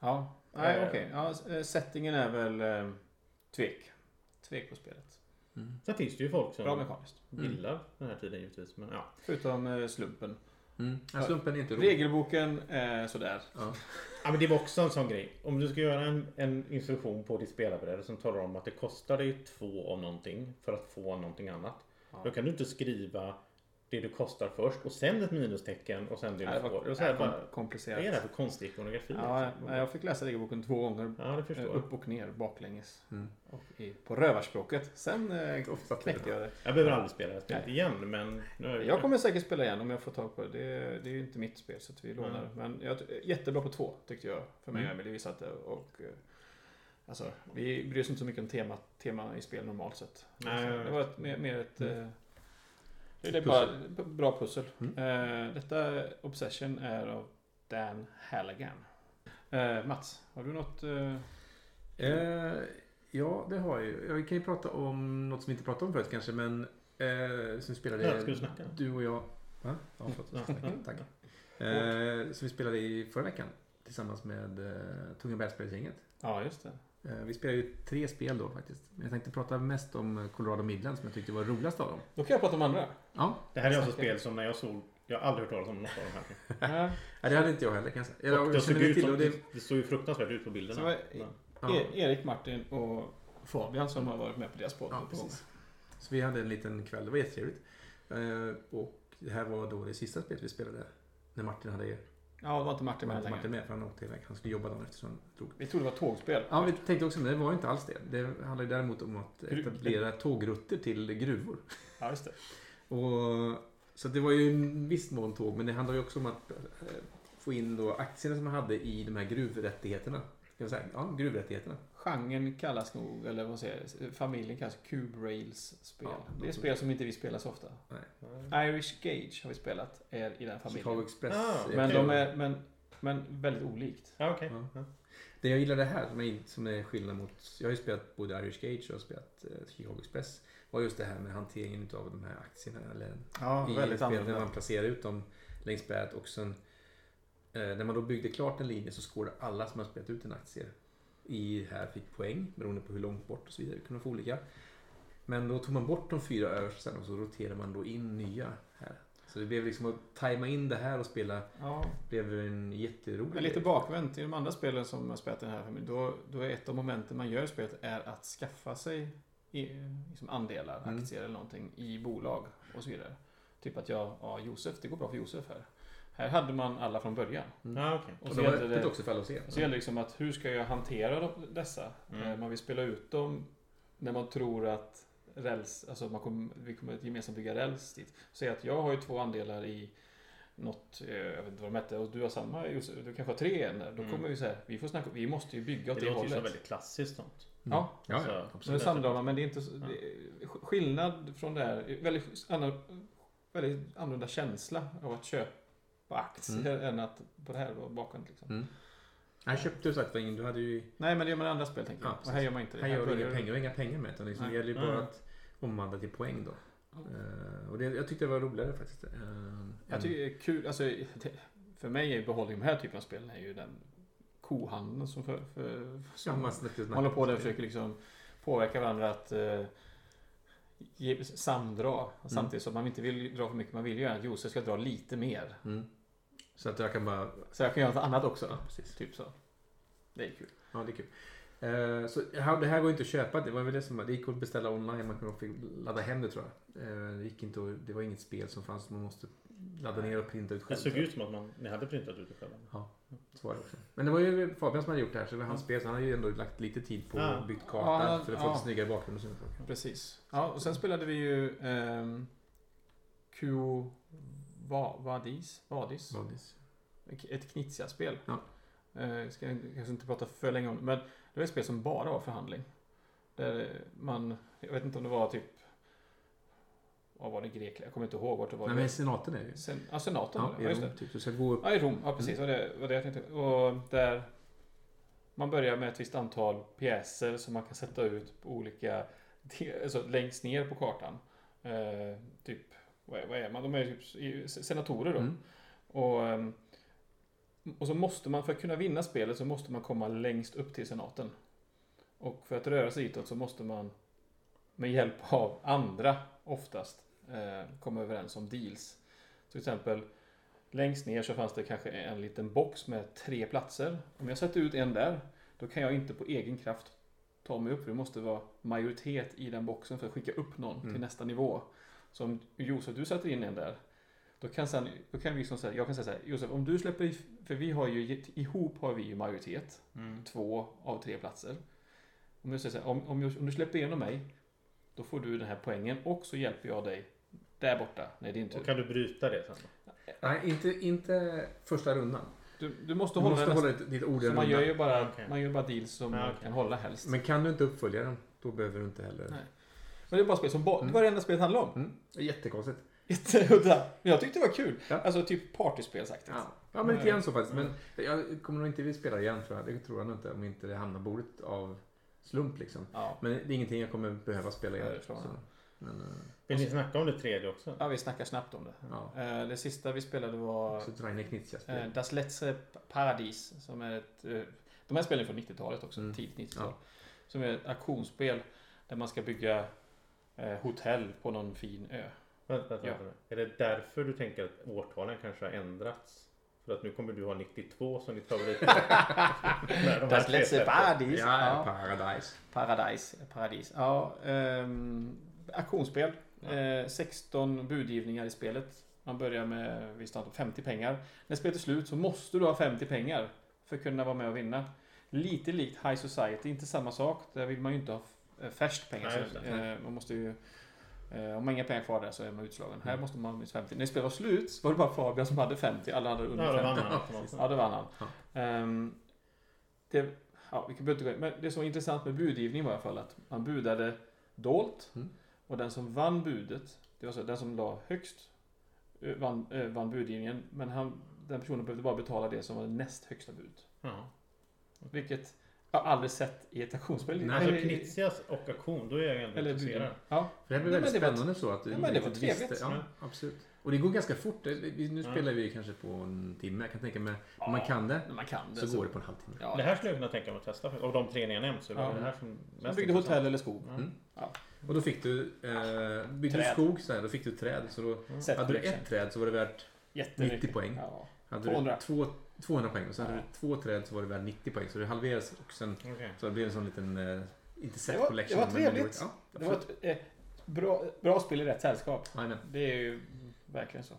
Speaker 4: ja. Nej,
Speaker 1: Eh.
Speaker 4: okej. Ja, s- eh, settingen är väl eh, tvek. Tvek på spelet.
Speaker 3: Mm.
Speaker 1: Sen finns det ju folk som
Speaker 4: Bra Mm. mekaniskt.
Speaker 1: gillar den här tiden givetvis. Men ja.
Speaker 4: Förutom eh, slumpen.
Speaker 3: Mm. Ja, slumpen är inte rolig.
Speaker 4: Regelboken är sådär.
Speaker 3: Ja.
Speaker 1: Ja, men det var också en sån grej. Om du ska göra en, en instruktion på ditt spelarbräde som talar om att det kostar dig två av någonting för att få någonting annat. Då kan du inte skriva det du kostar först och sen ett minustecken och sen det
Speaker 4: Nej,
Speaker 1: du
Speaker 4: det var
Speaker 1: får. Och så här,
Speaker 4: kom-
Speaker 1: bara,
Speaker 4: komplicerat.
Speaker 1: vad är det här för konstig ikonografi?
Speaker 4: Ja,
Speaker 1: liksom?
Speaker 4: nej, jag fick läsa regelboken två gånger.
Speaker 1: ja, det
Speaker 4: Eh,
Speaker 1: förstår jag.
Speaker 4: Upp och ner, baklänges.
Speaker 3: Mm.
Speaker 4: Och i, på rövarspråket. Sen eh,
Speaker 3: Ofta
Speaker 4: knäckte jag det.
Speaker 1: Jag behöver aldrig spela det här spelet igen men nu har jag
Speaker 4: Jag kommer säkert spela igen om jag får tag på det. Det, det är ju inte mitt spel så att vi lånar. det. Men jag, jättebra på två tyckte jag. För mig och Emelie. Vi satt där och... eh, Alltså, vi bryr oss inte så mycket om tema, tema i spel normalt sett.
Speaker 1: Nej,
Speaker 4: det var ett, mer, mer ett... eh, Det är
Speaker 3: Ett
Speaker 4: bara b- bra pussel. Eh, detta Obsession är av Dan Halligan. Eh, Mats, har du något? eh,
Speaker 3: Eh, ja, det har jag ju. Jag kan ju prata om något som vi inte pratade om förut kanske, men eh, som vi spelade...
Speaker 1: Ja, ska du snacka?
Speaker 3: Du och jag. Va? Ja, förlåt. Snacka. Tack. Eh, som vi spelade i förra veckan tillsammans med eh, Tunga Bärspelsgänget.
Speaker 4: Ja, just det.
Speaker 3: Eh, vi spelade ju tre spel då faktiskt. Men jag tänkte prata mest om eh, Colorado Midland som jag tyckte var roligast av dem.
Speaker 4: Då kan jag prata om andra.
Speaker 3: Ja,
Speaker 1: Det här är alltså
Speaker 4: Snacka.
Speaker 1: spel som när jag såg jag har aldrig hört talas om något av de här.
Speaker 4: Eh,
Speaker 3: nej, det hade inte jag heller kan jag säga. Eller,
Speaker 1: Och
Speaker 3: Jag,
Speaker 1: det,
Speaker 3: jag
Speaker 1: såg
Speaker 3: känner
Speaker 1: ut
Speaker 3: till
Speaker 1: som,
Speaker 3: och
Speaker 1: det...
Speaker 3: det.
Speaker 1: såg ju fruktansvärt ut på bilderna.
Speaker 4: Så vad-
Speaker 1: Men-
Speaker 3: Ja.
Speaker 4: E- Erik, Martin och Fabian som har varit med på deras podd.
Speaker 3: Ja, precis. Så vi hade en liten kväll, det var jättetrevligt. Eh, och det här var då det sista spelet vi spelade. När Martin hade
Speaker 4: Ja, det var inte Martin
Speaker 3: var
Speaker 4: med
Speaker 3: inte Martin
Speaker 4: längre.
Speaker 3: med för han åkte iväg. Han skulle jobba dagen efter så han drog.
Speaker 4: Vi trodde det var tågspel.
Speaker 3: Ja, vi tänkte också men det var ju inte alls det. Det handlar ju däremot om att etablera tågrutter till gruvor.
Speaker 4: Ja, just det.
Speaker 3: Och, så det var ju en viss mån tåg, men det handlar ju också om att eh, få in då aktierna som man hade i de här gruvrättigheterna. Ska jag säga? Ja, gruvrättigheterna.
Speaker 4: Genren kallas nog, eller vad säger jag, familjen kallas Cube Rails-spel.
Speaker 3: Ja,
Speaker 4: det är spel som inte vi spelar så ofta.
Speaker 3: Nej.
Speaker 4: Irish Gage har vi spelat, är i den
Speaker 3: Chicago
Speaker 4: familjen.
Speaker 3: Express.
Speaker 1: Ah,
Speaker 3: eh,
Speaker 4: Men, de
Speaker 3: kul.
Speaker 4: är, men, men väldigt olikt.
Speaker 1: Ja, okej.
Speaker 3: Ja.
Speaker 1: Ja.
Speaker 3: Det jag gillar det här som är, som är skillnad mot... Jag har ju spelat både Irish Gage och jag har spelat eh, Chicago Express. var just det här med hanteringen av de här aktierna. Eller
Speaker 4: Ja,
Speaker 3: i spelet när man placerar ut dem längs brädet och sen eh, när man då byggde klart en linje så skårade alla som har spelat ut en aktie i här fick poäng beroende på hur långt bort och så vidare. Det kunde få olika. Men då tog man bort de fyra översta och så roterade man då in nya här. Så det blev liksom att tajma in det här och spela
Speaker 4: Ja,
Speaker 3: blev en jätterolig
Speaker 4: men lite
Speaker 3: grej.
Speaker 4: bakvänt. I de andra spelen som har spelat i den här familjen, då, då är ett av momenten man gör i spelet är att skaffa sig i, liksom andelar,
Speaker 3: Mm.
Speaker 4: aktier eller någonting i bolag och så vidare. Typ att jag, ja Josef, det går bra för Josef här. Här hade man alla från början.
Speaker 1: Ja, okej.
Speaker 4: Och
Speaker 3: Och
Speaker 4: så
Speaker 3: det var
Speaker 4: gällde
Speaker 3: öppet
Speaker 4: det,
Speaker 3: också för alla att se.
Speaker 4: så gällde det liksom att hur ska jag hantera de- dessa?
Speaker 1: Mm.
Speaker 4: Eh, Man vill spela ut dem när man tror att räls, alltså man kommer, vi kommer gemensamt bygga räls dit. Säg att jag har ju två andelar i något, eh, jag vet inte vad de hette, och du har samma, Josef, du kanske har tre igen där. Då
Speaker 1: Mm.
Speaker 4: kommer vi säga, vi får snacka, vi måste ju bygga åt
Speaker 1: Det låter
Speaker 4: det,
Speaker 1: ju
Speaker 4: hållet.
Speaker 1: som väldigt klassiskt sånt.
Speaker 4: Ja,
Speaker 3: Ja,
Speaker 1: Så-
Speaker 3: ja.
Speaker 4: så nu samlar man, men det är inte så, det, är skillnad från det här, väldigt, annan, väldigt annorlunda känsla av att köpa aktier
Speaker 1: Mm.
Speaker 4: än att på det här då, bakåt liksom.
Speaker 3: Mm. Här köpte du sagt du hade ju...
Speaker 4: Nej, men det gör man i andra spel tänker jag.
Speaker 3: Ja,
Speaker 4: och här gör man inte det.
Speaker 3: Här gör du
Speaker 4: börjar
Speaker 3: inga pengar, och inga pengar med utan liksom, det
Speaker 4: Nej. Mm.
Speaker 3: gäller ju bara
Speaker 1: Nej.
Speaker 3: att omvandla till poäng då. Eh, och det, jag tyckte det var roligare faktiskt. eh, än-
Speaker 4: Jag tycker det är kul, alltså, det, för mig är behållningen med den här typen av spel är ju den kohandeln som, för, för,
Speaker 3: Ja,
Speaker 4: som
Speaker 3: man snackar- snackar-
Speaker 4: håller på där och försöker liksom påverka varandra att eh, ge,
Speaker 3: Mm.
Speaker 4: samdra. Samtidigt som man inte vill dra för mycket, man vill ju gärna att Josef ska dra lite mer.
Speaker 3: Mm. Så att jag kan bara...
Speaker 4: Så jag kan göra något annat också.
Speaker 3: Ja, precis.
Speaker 4: Typ så. Det är kul.
Speaker 3: Ja, det är kul. Eh, så här- det här går inte att köpa. Det var väl det som Det gick att beställa online. Man kunde fick ladda hem det tror jag. Eh, det gick inte att, Det var inget spel som fanns. Man måste ladda ner och printa ut
Speaker 1: Det
Speaker 3: själv.
Speaker 1: såg ut som att man, ni hade printat ut det själva.
Speaker 3: Så var det också. Men det var ju Fabian som hade gjort det här. Så det var hans spel. Så han har ju ändå lagt lite tid på
Speaker 1: Ja.
Speaker 3: att byta
Speaker 4: Mm. Ja,
Speaker 3: karta.
Speaker 4: han har-
Speaker 3: för att få
Speaker 4: ja.
Speaker 3: en snyggare bakgrund och sådana saker.
Speaker 4: Precis. Ja, och sen spelade vi ju ehm, Q... Va, vadis? Vadis?
Speaker 3: Vadis?
Speaker 4: ett Knizia-spel.
Speaker 3: Ja.
Speaker 4: Eh, ska jag kanske inte prata för länge om det, men det var ett spel som bara var förhandling. Där eh, man, jag vet inte om det var typ, vad var det, Grekland? Jag kommer inte ihåg vart det var.
Speaker 3: Nej men senaten är det ju.
Speaker 4: Sen, ja, senaten
Speaker 3: Ja,
Speaker 4: var det.
Speaker 3: i
Speaker 4: Ja, just
Speaker 3: Rom,
Speaker 4: det.
Speaker 3: typ. Du ska gå upp.
Speaker 4: Ja, i Rom. Ja, precis. Vad det var det jag tänkte. Och där man börjar med ett visst antal pjäser som man kan sätta ut på olika, de- alltså längst ner på kartan. Eh, typ, vad är, vad är man? De är ju typ i- senatorer då.
Speaker 3: Mm.
Speaker 4: Och, ehm, och så måste man, för att kunna vinna spelet så måste man komma längst upp till senaten. Och för att röra sig ditåt så måste man med hjälp av andra oftast eh, komma överens om deals. Till exempel Längst ner så fanns det kanske en liten box med tre platser. Om jag sätter ut en där, då kan jag inte på egen kraft ta mig upp. För det måste vara majoritet i den boxen för att skicka upp någon till nästa nivå. Så om Josef, du sätter in en där. Då kan, sen, då kan vi liksom säga, jag kan säga så här, Josef, om du släpper i- för vi har ju, gett- ihop har vi ju majoritet. Två av tre platser. Om, jag säger så här, om, om, jag, om du släpper igenom mig, då får du den här poängen och så hjälper jag dig där borta. Nej, det är inte
Speaker 1: Och kan du bryta det sen? då?
Speaker 3: Nej, inte, inte första rundan.
Speaker 4: Du, du måste
Speaker 3: Du
Speaker 4: hålla
Speaker 3: måste
Speaker 4: nästa-
Speaker 3: hålla ditt ditt ord i
Speaker 4: Så man gör
Speaker 3: rundan.
Speaker 4: ju bara,
Speaker 1: Ja, okej.
Speaker 4: man gör bara deals som
Speaker 1: Ja,
Speaker 4: man
Speaker 1: okej.
Speaker 4: kan hålla helst. Men,
Speaker 3: Men kan du inte uppfölja den, då behöver du inte heller.
Speaker 4: Nej. det är bara spel som ba- Det var det enda spelet handlade om.
Speaker 3: Mm. Det är Jättekonstigt.
Speaker 4: Jätteudda. Men jag tyckte det var kul.
Speaker 3: Ja.
Speaker 4: Alltså typ partyspelsaktigt.
Speaker 3: Ja, ja men lite grann så faktiskt. Men jag kommer nog inte vilja spela igen tror jag. Det tror jag nog inte. Om inte det hamnar på bordet av slump liksom.
Speaker 4: Ja.
Speaker 3: Men det är ingenting jag kommer behöva spela
Speaker 4: Ja,
Speaker 3: igen.
Speaker 4: det tror jag.
Speaker 3: Så. Men, eh,
Speaker 1: Vill
Speaker 4: Alltså-
Speaker 1: ni snacka om det tredje också?
Speaker 4: ja, vi snackar snabbt om det.
Speaker 3: ja.
Speaker 4: Eh, Det sista vi spelade var
Speaker 3: Så Draine Knizia-spel.
Speaker 4: eh, Das letzte Paradies. Som är ett, eh, de här spelen är från 90-talet också.
Speaker 3: Mm.
Speaker 4: Tidigt 90-tal. Som är ett auktionsspel där man ska bygga eh, hotell på någon fin ö.
Speaker 1: Vänta, vänta,
Speaker 4: Ja.
Speaker 1: vänta. Är det därför du tänker att årtalen kanske har ändrats? För att nu kommer du ha 92 som ditt favorit. När de här
Speaker 4: Das
Speaker 1: tre
Speaker 4: letzte
Speaker 1: släpps.
Speaker 4: Paradies.
Speaker 3: Ja, Paradise.
Speaker 4: Paradise. eh, Paradis. Ja, ehm, auktionsspel. Eh, 16 budgivningar i spelet. Man börjar med visst antal, 50 pengar. När spelet är slut så måste du ha 50 pengar för att kunna vara med och vinna. Lite likt High Society, inte samma sak. Där vill man ju inte ha f- eh, färskt pengar.
Speaker 1: Nej,
Speaker 4: så,
Speaker 1: just
Speaker 4: eh, man måste ju, eh, om man har inga pengar kvar där så är man utslagen.
Speaker 1: Mm.
Speaker 4: Här måste man ha minst 50. När spelet var slut så var det bara Fabian som hade 50. Alla hade under
Speaker 1: Ja, då
Speaker 4: 50.
Speaker 1: vann han. automatiskt.
Speaker 4: Ja, det vann han. Ehm, det, ja, vi kan inte gå in. Men det som var intressant med budgivning var i alla fall att man budade dolt.
Speaker 3: Mm.
Speaker 4: Och den som vann budet, det var så, den som la högst eh, vann, eh, vann budgivningen. Men han, den personen behövde bara betala det som var det näst högsta budet.
Speaker 1: Ja.
Speaker 4: Vilket jag aldrig sett i ett auktionsspel.
Speaker 3: Mm. Nej,
Speaker 1: Alltså
Speaker 4: Eller i-
Speaker 1: Knizias och auktion, då är jag ändå
Speaker 4: eller
Speaker 1: intresserad.
Speaker 4: budgivning. Ja.
Speaker 3: För det här blir
Speaker 4: Nej,
Speaker 3: väldigt
Speaker 4: men det var-
Speaker 3: spännande så att du
Speaker 4: Ja, men det var
Speaker 3: riktigt visste-
Speaker 4: trevligt.
Speaker 3: Ja, absolut. Och det går ganska fort. Det- vi- Nu spelar vi kanske på en timme. Jag kan tänka mig, om man kan det,
Speaker 4: När man kan det.
Speaker 3: så går det på en halvtimme.
Speaker 4: Ja,
Speaker 1: Det här skulle jag kunna tänka mig att testa. Av de tre ni har nämnt så är
Speaker 4: Ja.
Speaker 1: det här som
Speaker 4: så man
Speaker 1: mest
Speaker 4: byggde
Speaker 1: intressant.
Speaker 4: hotell eller skog.
Speaker 1: Ja.
Speaker 3: Och då fick du, eh, byggde du
Speaker 4: Träd.
Speaker 3: skog så här, då fick du träd. Så då,
Speaker 4: Set
Speaker 3: hade du
Speaker 4: collection.
Speaker 3: ett träd så var det värt
Speaker 4: Jättemycket.
Speaker 3: 90 poäng.
Speaker 4: Ja.
Speaker 3: Hade
Speaker 4: 200.
Speaker 3: du två, 200 poäng och sen hade
Speaker 4: Ja.
Speaker 3: du två träd så var det värt 90 poäng. Så det halverades och sen
Speaker 1: Okej.
Speaker 3: så det blev en sån liten, eh, inte
Speaker 4: Det
Speaker 3: set
Speaker 4: var-
Speaker 3: collection.
Speaker 4: det var
Speaker 3: men
Speaker 4: trevligt.
Speaker 3: ja,
Speaker 4: Det var ett eh, bra, bra spel i rätt sällskap.
Speaker 3: Jajamän.
Speaker 4: Det är ju verkligen så.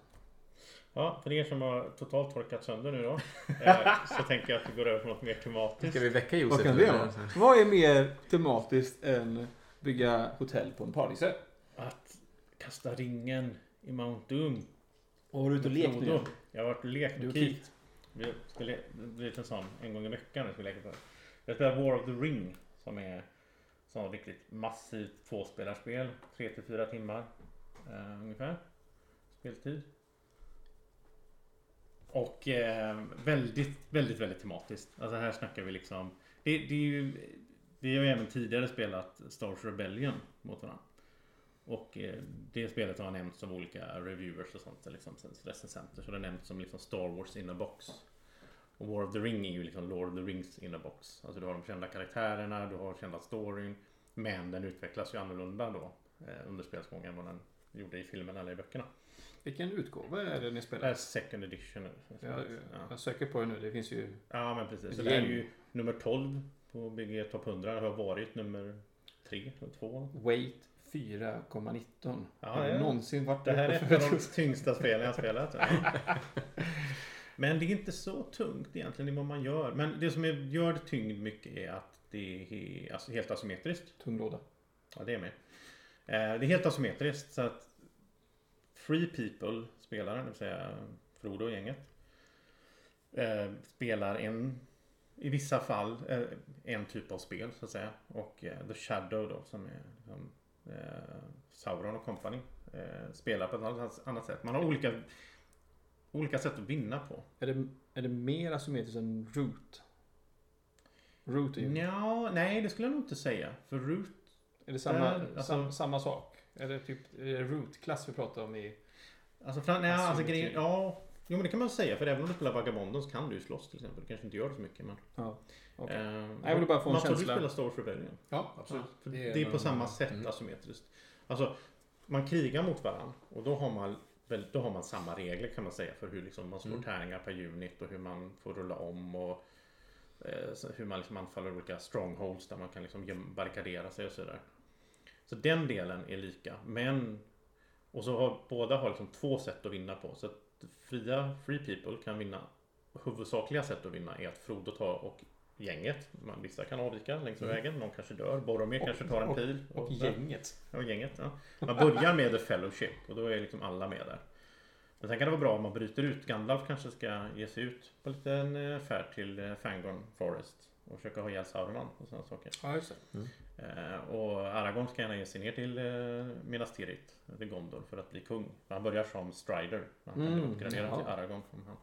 Speaker 1: Ja, för er som har totalt torkat sönder nu då. eh, så tänker jag att vi går över på något mer tematiskt.
Speaker 3: Ska vi väcka Josef?
Speaker 4: Vad kan
Speaker 3: nu,
Speaker 4: det
Speaker 3: eller?
Speaker 4: vara? Vad är mer tematiskt än bygga hotell på en paradisö?
Speaker 1: Att kasta ringen i Mount Doom.
Speaker 4: Och har du ute och lekt nu?
Speaker 1: Frodo. Jag har varit och lekt
Speaker 4: Du
Speaker 1: med
Speaker 4: och
Speaker 1: Keith. Vi skulle bli en sån en gång i veckan. när Vi skulle leka på. det. Jag spelar War of the Ring som är sån riktigt massivt tvåspelarspel. Tre till fyra timmar eh, ungefär. Speltid. Och eh, väldigt, väldigt, väldigt tematiskt. Alltså här snackar vi liksom. Det, det är ju, vi har ju även tidigare spelat Star Wars Rebellion mot varandra. Och eh, det spelet har nämnts som olika reviewers och sånt, liksom, recensenter. Så det har nämnts som liksom Star Wars in a box. Och War of the Ring är ju liksom Lord of the Rings in a box. Alltså du har de kända karaktärerna, du har kända storyn. Men den utvecklas ju annorlunda då eh, under spelsgången än vad den gjorde i filmen eller i böckerna.
Speaker 4: Vilken utgåva är det ni
Speaker 1: Det
Speaker 4: spelar?
Speaker 1: är second edition.
Speaker 4: Jag,
Speaker 1: Äh, Ja.
Speaker 4: jag söker på det nu. Det finns ju...
Speaker 1: ja men precis. Så
Speaker 4: Ett
Speaker 1: det är
Speaker 4: gäng.
Speaker 1: ju nummer 12 på BG Top 100. Det har varit nummer 3 eller 2.
Speaker 4: Weight 4,19.
Speaker 1: Ja,
Speaker 4: har
Speaker 1: ja.
Speaker 4: det någonsin varit
Speaker 1: Det här är
Speaker 4: uppe för
Speaker 1: ett av de
Speaker 4: att-
Speaker 1: tyngsta spelen jag har spelat. Ja. Men det är inte så tungt egentligen i vad man gör. Men det som är, gör det tyngd mycket är att det är alltså, helt asymmetriskt.
Speaker 4: Tung låda.
Speaker 1: Ja, det är med. Eh, Det är helt asymmetriskt så att Free People, spelaren, det vill säga Frodo och gänget, eh, spelar en, i vissa fall, eh, en typ av spel så att säga. Och eh, The Shadow då som är liksom, eh, Sauron och company eh, spelar på ett annat- annat sätt. Man har olika, olika sätt att vinna på.
Speaker 4: Är det, är det mer asymmetriskt än Root? Root är ju...
Speaker 1: Ja, nej det skulle jag nog inte säga. För Root
Speaker 4: Är det samma,
Speaker 1: Där, alltså-
Speaker 4: sam, samma sak? Är det typ är det Root-klass vi pratar om i...
Speaker 1: Alltså, fram, nej, alltså
Speaker 4: Asymmetri.
Speaker 1: grejen, ja. Jo men det kan man säga för även om du spelar Vagabondon så kan du ju slåss till exempel. Du kanske inte gör det så mycket men...
Speaker 4: Ja. Okej.
Speaker 1: Eh,
Speaker 4: Jag ville bara få en
Speaker 1: Mats, har
Speaker 4: känsla.
Speaker 1: du spelar Star Wars Rebellion?
Speaker 3: Ja,
Speaker 1: För det, är på samma sätt asymmetriskt. Alltså, man krigar mot varandra och då har man väl- då har man samma regler kan man säga för hur liksom man slår
Speaker 3: Mm.
Speaker 1: tärningar per unit och hur man får rulla om och eh, så hur man liksom anfaller olika strongholds där man kan liksom göm- barrikadera sig och sådär. Så den delen är lika. Men och så har båda har liksom två sätt att vinna på. Så att fria free people kan vinna. Huvudsakliga sätt att vinna är att Frodo tar och gänget. Man, vissa kan avvika längs med vägen. Någon kanske dör. Boromir kanske tar en pil.
Speaker 4: Mm. Och
Speaker 1: sådär.
Speaker 4: gänget.
Speaker 1: Ja, gänget. Ja. Man börjar med The Fellowship och då är liksom alla med där. Men sen kan det vara bra om man bryter ut. Gandalf kanske ska ge sig ut på en liten eh, färd till eh, Fangorn Forest och försöka ha ihjäl Sauron och sådana saker.
Speaker 4: Ja, just det.
Speaker 1: Eh, och Aragorn ska gärna ge sig ner till eh, Minas Tirith, till Gondor, för att bli kung. Han börjar som Strider. Han kan bli
Speaker 3: Mm,
Speaker 1: uppgraderad
Speaker 3: jaha.
Speaker 1: till Aragorn. Om han.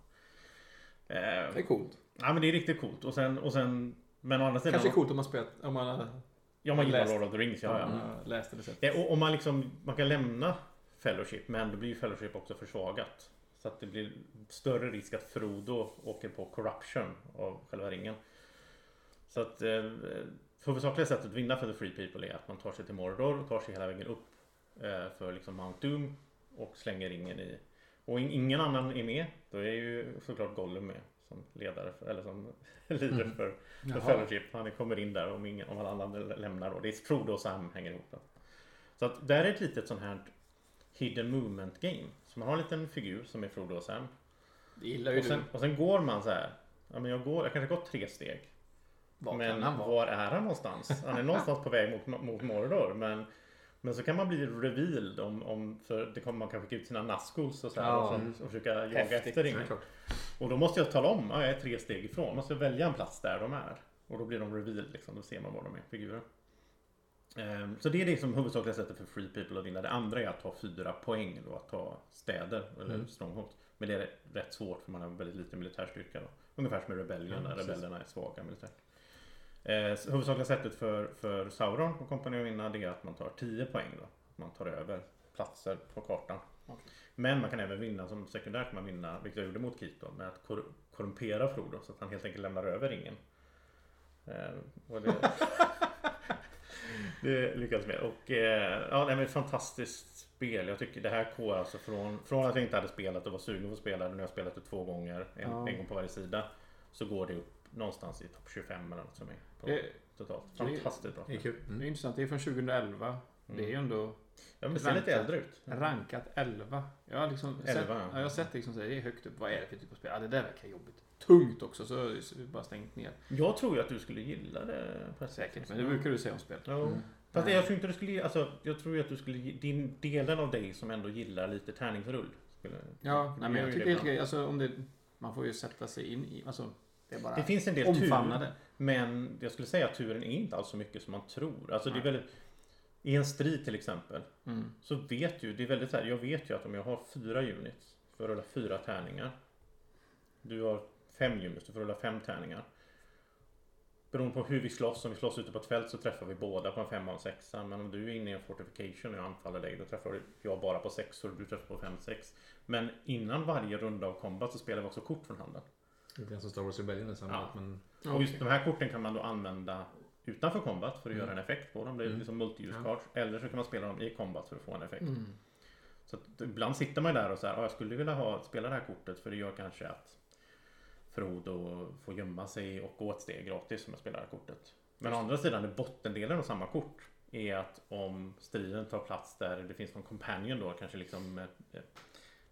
Speaker 1: Eh,
Speaker 3: Det är coolt.
Speaker 1: ja, men det är riktigt coolt. Och sen, och sen, men å andra sidan...
Speaker 3: Kanske coolt om man spelat... Om man,
Speaker 1: Ja, man gillar
Speaker 4: läst.
Speaker 1: Lord of the Rings. Ja, ja.
Speaker 4: Jag läste det så.
Speaker 1: Ja, och, och man, liksom, man kan lämna Fellowship, men då blir ju Fellowship också försvagat. Så att det blir större risk att Frodo åker på corruption av själva ringen. Så att eh, huvudsakliga sättet att vinna för The Free People är att man tar sig till Mordor och tar sig hela vägen upp eh, för liksom Mount Doom och slänger ringen i. Och in, ingen annan är med. Då är ju såklart Gollum med som ledare för, eller som leader för, för Fellowship. Han kommer in där om, ingen, om alla andra lämnar. Och det är Frodo och Sam hänger ihop. Då. Så att där är ett litet sånt här Hidden movement game. Så man har en liten figur som är Frodo och Sam.
Speaker 3: det gillar ju
Speaker 1: Och
Speaker 3: du.
Speaker 1: sen, och sen går man så här. Ja, men jag, går, jag kanske har gått tre steg.
Speaker 3: Var
Speaker 1: men
Speaker 3: kan han vara?
Speaker 1: var är han någonstans? Han är någonstans på väg mot, mot Mordor. Men, men så kan man bli revealed om, om för det kommer man kan skicka ut sina Nazguls och, så här,
Speaker 3: Ja.
Speaker 1: och, så, och försöka jaga
Speaker 4: Häftigt.
Speaker 1: efter
Speaker 3: Ja,
Speaker 1: ringen.
Speaker 3: klart.
Speaker 1: Och då måste jag tala om, ja, jag är tre steg ifrån. Man måste välja en plats där de är. Och då blir de revealed liksom. Då ser man var de är, figurer. Ehm, Så det är liksom huvudsakliga sättet för free people att vinna. Det andra är att ta fyra poäng då, att ta städer eller
Speaker 3: Mm.
Speaker 1: strongholds. Men det är rätt svårt för man har väldigt lite militär styrka då. Ungefär som i Rebellion
Speaker 3: Ja,
Speaker 1: när
Speaker 3: precis.
Speaker 1: rebellerna är svaga militärt. Eh, så Huvudsakliga sättet för, för Sauron och kompani att vinna det är att man tar 10 poäng då. Man tar över platser på kartan.
Speaker 4: Okej.
Speaker 1: Men man kan även vinna som sekundärt, kan man vinna, vilket jag gjorde mot Kit då, med att kor- korrumpera Frodo så att han helt enkelt lämnar över ringen. Eh, och det, det lyckades med. Och eh, ja, nej, men ett fantastiskt spel. Jag tycker det här går alltså från, från att jag inte hade spelat och var sugen på att spela, nu har jag spelat det två gånger, en,
Speaker 4: Ja.
Speaker 1: en gång på varje sida. Så går det upp någonstans i topp 25 eller något som är på,
Speaker 4: Det,
Speaker 1: totalt.
Speaker 4: det är-
Speaker 1: Fantastiskt bra. Mm.
Speaker 3: Det är kul.
Speaker 4: det är
Speaker 3: Mm.
Speaker 4: intressant. Det är från 2011. Det är ju ändå
Speaker 1: Ja, men det ser lite
Speaker 4: Rankat.
Speaker 1: äldre ut.
Speaker 4: rankat 11. Jag har liksom sett,
Speaker 1: 11, ja.
Speaker 4: ja. jag har sett liksom så här, det är högt upp. Vad är det för typ av spel? Ja, det där verkar jobbigt. Tungt också, så jag har ju bara stängt ner.
Speaker 1: Jag tror ju att du skulle gilla det. på ett sätt.
Speaker 4: Säkert, men det brukar du säga om spel.
Speaker 1: Mm. Ja.
Speaker 3: Mm.
Speaker 1: Fast jag tror inte du skulle... Alltså, jag tror ju att du skulle... Din delen av dig som ändå gillar lite tärningsrull. Skulle,
Speaker 4: Ja,
Speaker 1: skulle
Speaker 4: nej, men
Speaker 1: göra
Speaker 4: jag
Speaker 1: ju
Speaker 4: tycker det är
Speaker 1: ibland.
Speaker 4: helt okej. Alltså, om det, man får ju sätta sig in i... Alltså, det är bara
Speaker 1: Det finns en del
Speaker 4: omfamna
Speaker 1: tur.
Speaker 4: det.
Speaker 1: Men jag skulle säga att turen är inte alls så mycket som man tror. Alltså det är
Speaker 4: Nej.
Speaker 1: väldigt... I en strid till exempel.
Speaker 4: Mm.
Speaker 1: Så vet ju, det är väldigt så här, jag vet ju att om jag har fyra units för att rulla fyra tärningar. Du har fem units, du får rulla fem tärningar. Beroende på hur vi slåss, om vi slåss ute på ett fält så träffar vi båda på en femma och en sexa. Men om du är inne i en fortification och jag anfaller dig, då träffar jag bara på sexor och du träffar på fem, sex. Men innan varje runda av kombat så spelar vi också kort från handen.
Speaker 3: Lite grann som Star Wars Rebellion nästan.
Speaker 1: Ja.
Speaker 3: att Man,
Speaker 1: Och just de här korten kan man då använda utanför combat för att göra en effekt på dem. Det är
Speaker 3: Mm.
Speaker 1: liksom multi-use
Speaker 3: Ja.
Speaker 1: cards. Eller så kan man spela dem i combat för att få en effekt.
Speaker 4: Mm.
Speaker 1: Så att ibland sitter man ju där och så här, ah, jag skulle vilja ha, spela det här kortet för det gör kanske att Frodo får gömma sig och gå ett steg gratis om jag spelar det här kortet. Men å andra sidan, är bottendelen av samma kort är att om striden tar plats där det finns någon companion då, kanske liksom eh, eh,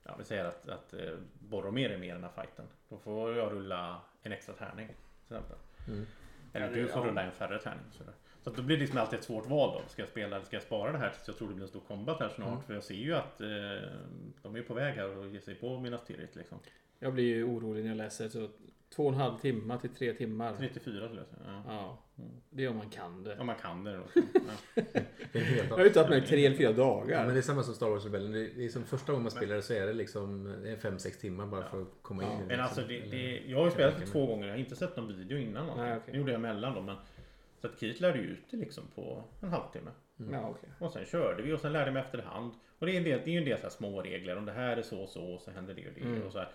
Speaker 1: Ja, vi säger att, att eh, Boromir är med i den här fighten. Då får jag rulla en extra tärning. Till exempel.
Speaker 3: Mm.
Speaker 1: Eller
Speaker 4: Ja,
Speaker 1: du
Speaker 4: det-
Speaker 1: får
Speaker 4: ja.
Speaker 1: rulla en färre tärning. och Sådär. Så att då blir det liksom alltid ett svårt val då. Ska jag spela eller ska jag spara det här tills jag tror det blir en stor combat här snart? För jag ser ju att eh, de är ju på väg här och ger sig på Minas Tirith liksom.
Speaker 4: Jag blir ju orolig när jag läser. Så två och en halv timme till tre timmar.
Speaker 1: 34 skulle jag säga. Ja.
Speaker 4: Ja, det är om man kan det.
Speaker 1: Om man kan det då. Ja.
Speaker 3: det är helt
Speaker 4: Jag har ju tagit mig tre eller fyra dagar.
Speaker 3: Ja, men det är samma som Star Wars Rebellion. Det det är som första gången man spelar det så är det liksom 5-6 timmar bara för att komma in i det.
Speaker 1: Men
Speaker 3: liksom.
Speaker 1: alltså, det,
Speaker 3: Eller-
Speaker 1: det, jag har ju
Speaker 3: kan
Speaker 1: spelat
Speaker 3: jag
Speaker 1: det
Speaker 3: tänka
Speaker 1: två gånger. Jag har inte sett någon video innan. någonting.
Speaker 4: Nej, okej.
Speaker 1: Det gjorde jag emellan då. Men, så att Keith lärde ju ut det liksom på en halvtimme.
Speaker 4: Ja, okej.
Speaker 1: Och sen körde vi och sen lärde jag mig efterhand. Och det är, en del, det är ju en del så här små regler. Om det här är så och så och så händer det och det. Och så här.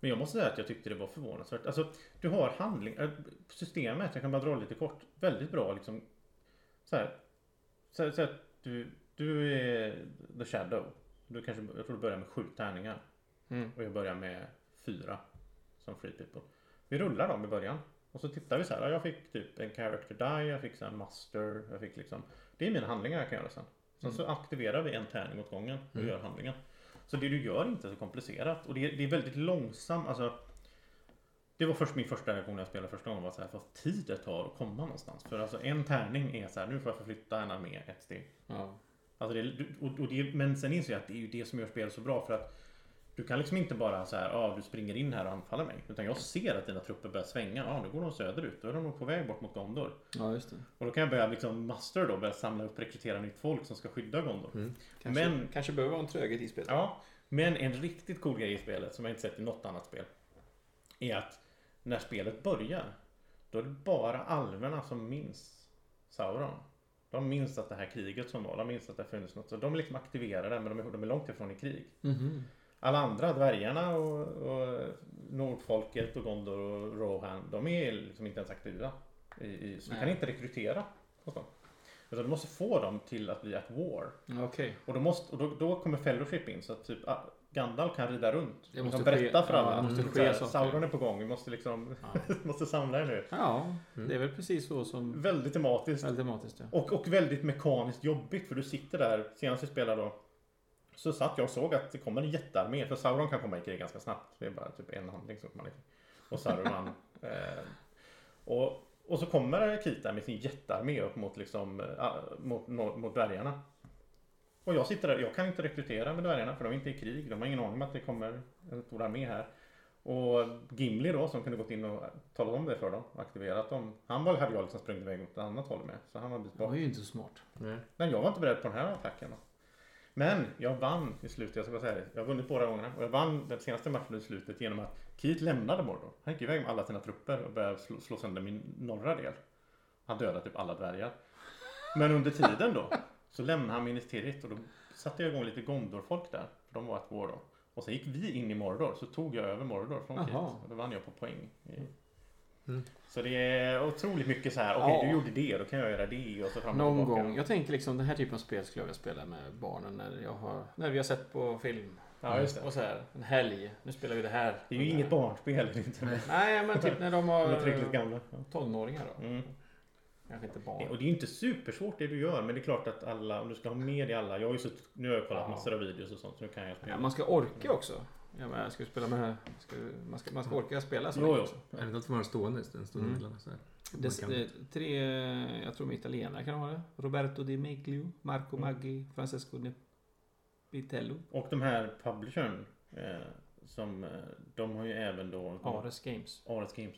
Speaker 1: Men jag måste säga att jag tyckte det var förvånansvärt. Alltså, du har handling, äh, systemet, jag kan bara dra lite kort. Väldigt bra liksom. Så här, så här, så här du, du är the shadow. Du kanske, jag tror du börjar med sju tärningar.
Speaker 4: Mm.
Speaker 1: Och jag börjar med fyra. Som free people. Vi rullar dem i början. Och så tittar vi så här. ja, Jag fick typ en character die. Jag fick så här master. Jag fick liksom. Det är mina handlingar jag kan göra sen. Sen så aktiverar vi en tärning åt gången och gör handlingen. Så det du gör är inte så komplicerat. Och det är, det är väldigt långsamt. Alltså, det var först min första reaktion när jag spelade första gången. Var så här, vad tid det tar att komma någonstans. För alltså en tärning är så här. Nu får jag förflytta en armé ett steg.
Speaker 4: Ja.
Speaker 1: Alltså det, du- och, och det, men sen inser jag att det är ju det som gör spel så bra för att du kan liksom inte bara så här, ah, du springer in här och anfaller mig. Utan jag ser att dina trupper börjar svänga. Ja, ah, nu går de söderut. Då är de nog på väg bort mot Gondor.
Speaker 4: ja, just det.
Speaker 1: Och då kan jag börja liksom master då, börja samla upp, rekrytera nytt folk som ska skydda Gondor.
Speaker 4: Kanske,
Speaker 1: Men-
Speaker 4: men... kanske behöver vara en tröghet i spelet.
Speaker 1: Ja, men en riktigt cool grej i spelet som jag inte sett i något annat spel är att när spelet börjar då är det bara alverna som minns Sauron. De minns att det här kriget som var, de minns att det har funnits något. Så de är liksom aktiverade men de är, de är långt ifrån i krig.
Speaker 4: Mhm.
Speaker 1: Alla andra, dvärgarna och, och Nordfolket och Gondor och Rohan, de är liksom inte ens aktiva. I, i, så du kan
Speaker 4: Nej.
Speaker 1: inte rekrytera hos dem. Utan du måste få dem till att bli at war.
Speaker 4: Ja, Okej.
Speaker 1: Och, då, måste, och då, då kommer Fellowship in så att typ ah, Gandalf kan rida runt.
Speaker 4: Det
Speaker 1: och
Speaker 4: måste
Speaker 1: kan berätta
Speaker 4: ske-
Speaker 1: för
Speaker 4: ja,
Speaker 1: alla.
Speaker 4: det måste
Speaker 1: Typ
Speaker 4: ske
Speaker 1: så här,
Speaker 4: saker.
Speaker 1: Sauron är på gång, vi måste liksom måste samla er nu.
Speaker 4: Ja, det är väl precis så som...
Speaker 1: Väldigt tematiskt.
Speaker 4: Väldigt tematiskt, ja.
Speaker 1: Och, och väldigt mekaniskt jobbigt för du sitter där, senast vi spelade då så satt jag och såg att det kommer en jättearmé för Sauron kan komma i krig ganska snabbt. Det är bara typ en handling som man i krig. Och Saruman. eh, och, och så kommer Kita med sin jättearmé upp mot liksom eh, mot, mot, mot dvärgarna. Och jag sitter där, jag kan inte rekrytera med dvärgarna för de är inte i krig. De har ingen aning om att det kommer en stor armé här. Och Gimli då som kunde gått in och talat om det för dem och aktiverat dem. Han var, hade jag liksom sprungit iväg åt ett annat håll med. Så han var en bit
Speaker 4: Det
Speaker 1: bort.
Speaker 4: var ju inte så smart.
Speaker 3: Nej.
Speaker 1: Nej, jag var inte beredd på den här attacken. Men jag vann i slutet, jag ska bara säga det. Jag har vunnit båda gångerna. Och jag vann den senaste matchen i slutet genom att Keith lämnade Mordor. Han gick iväg med alla sina trupper och började slå, slå sönder min norra del. Han dödade typ alla dvärgar. Men under tiden då så lämnade han Minas Tirith och då satte jag igång lite Gondor-folk där. För de var ett år då. Och sen gick vi in i Mordor så tog jag över Mordor från Keith.
Speaker 4: Jaha. Mm.
Speaker 1: Och då vann jag på poäng. i- Så det är otroligt mycket så här. Okej,
Speaker 4: Ja.
Speaker 1: du gjorde det, då kan jag göra det. Och så fram och
Speaker 4: Någon
Speaker 1: tillbaka.
Speaker 4: gång. Jag tänker liksom den här typen av spel skulle jag vilja spela med barnen när, jag har, när vi har sett på film.
Speaker 1: Ja, just det.
Speaker 4: Och så här, en helg. Nu spelar vi det här.
Speaker 1: Det är ju inget barnspel. det är Inte. De
Speaker 4: Nej, men typ när de har
Speaker 1: är tillräckligt gamla. Ja.
Speaker 4: tonåringar då.
Speaker 1: Mm.
Speaker 4: Kanske inte barn.
Speaker 1: Och det är ju inte supersvårt det du gör. Men det är klart att alla, om du ska ha med dig alla. Jag har ju suttit, nu har jag kollat
Speaker 4: Ja.
Speaker 1: massor av videos och sånt. Så nu kan jag spela.
Speaker 4: Ja, man ska orka också. Ja, men jag ska ju spela med... Ska, man, ska, man ska orka spela så
Speaker 1: Jo,
Speaker 4: länge
Speaker 1: jo.
Speaker 4: också.
Speaker 3: Är det inte att få vara stående en stund
Speaker 4: Mm.
Speaker 3: emellan? så här? Man
Speaker 4: Det,
Speaker 3: kan-
Speaker 4: det, tre, jag tror de är italienare kan ha det. Roberto Di Meglio, Marco Maggi, Francesco Nepitello,
Speaker 1: Och de här publishern. Eh, som, eh, de har ju även då...
Speaker 4: Ares Games.
Speaker 1: Ares Games.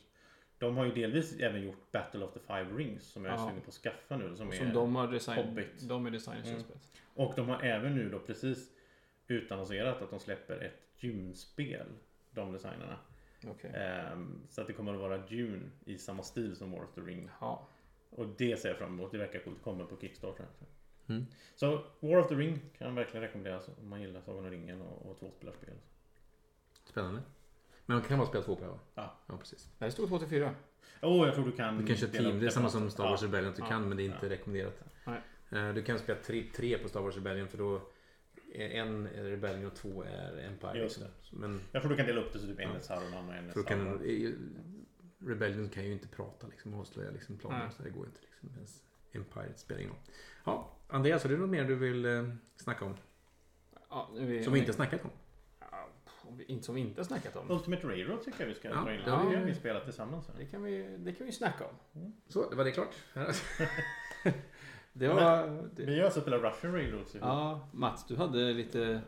Speaker 1: De har ju delvis även gjort Battle of the Five Rings. Som jag är
Speaker 4: Ja.
Speaker 1: sugen på att skaffa nu. Som är,
Speaker 4: Som de har design,
Speaker 1: Hobbit.
Speaker 4: de är designers i
Speaker 1: Mm.
Speaker 4: spelet.
Speaker 1: Och de har även nu då precis utannonserat att de släpper ett gymspel. De designerna.
Speaker 4: Okej.
Speaker 1: Ehm, så att det kommer att vara Dune i samma stil som War of the Ring.
Speaker 4: Ja.
Speaker 1: Och det ser jag fram emot. Det verkar coolt. Det kommer på Kickstarter.
Speaker 3: Mm.
Speaker 1: Så War of the Ring kan verkligen rekommenderas om man gillar Sagan om ringen och, och tvåspelarspel.
Speaker 3: Spännande. Men man kan bara spela två på det, va?
Speaker 1: Ja. Mm,
Speaker 3: Ja, precis.
Speaker 4: Det här stod 2-4.
Speaker 1: Åh, Oh, jag tror du kan...
Speaker 3: Du kan köra
Speaker 1: dela upp
Speaker 3: team. Det är samma
Speaker 1: på något
Speaker 3: som
Speaker 1: sätt.
Speaker 3: Star Wars
Speaker 1: Ja.
Speaker 3: Rebellion. att Du
Speaker 4: Ja.
Speaker 3: kan, men det är inte rekommenderat.
Speaker 4: Nej.
Speaker 3: Eh, Du kan spela tre, tre på Star Wars Rebellion för då är en är Rebellion och två är Empire.
Speaker 1: Just
Speaker 3: liksom. Men
Speaker 1: Jag tror du kan dela upp det så typ en
Speaker 3: Ja.
Speaker 1: är Saruman och en är
Speaker 3: för då kan,
Speaker 1: Sauron.
Speaker 3: eh, Rebellion kan ju inte prata liksom, och avslöja liksom, planer.
Speaker 4: Nej.
Speaker 3: Så det går inte. Liksom, ens Empire spelar ingen roll. Ja, Andreas, har du något mer du vill eh, snacka om?
Speaker 4: Ja, nu är
Speaker 3: Som vi inte har snackat om?
Speaker 4: Ja, om vi inte Som vi inte har snackat om.
Speaker 1: Ultimate Railroad tycker jag vi ska
Speaker 3: Ja,
Speaker 1: dra in. Det
Speaker 3: ja.
Speaker 1: har vi spelat tillsammans. här.
Speaker 4: Det kan vi, det kan vi snacka om.
Speaker 3: Så, var det klart?
Speaker 4: Det var... Det,
Speaker 1: Vi har alltså spelat Russian Railroads ihop.
Speaker 4: ja, Mats, du hade lite... Det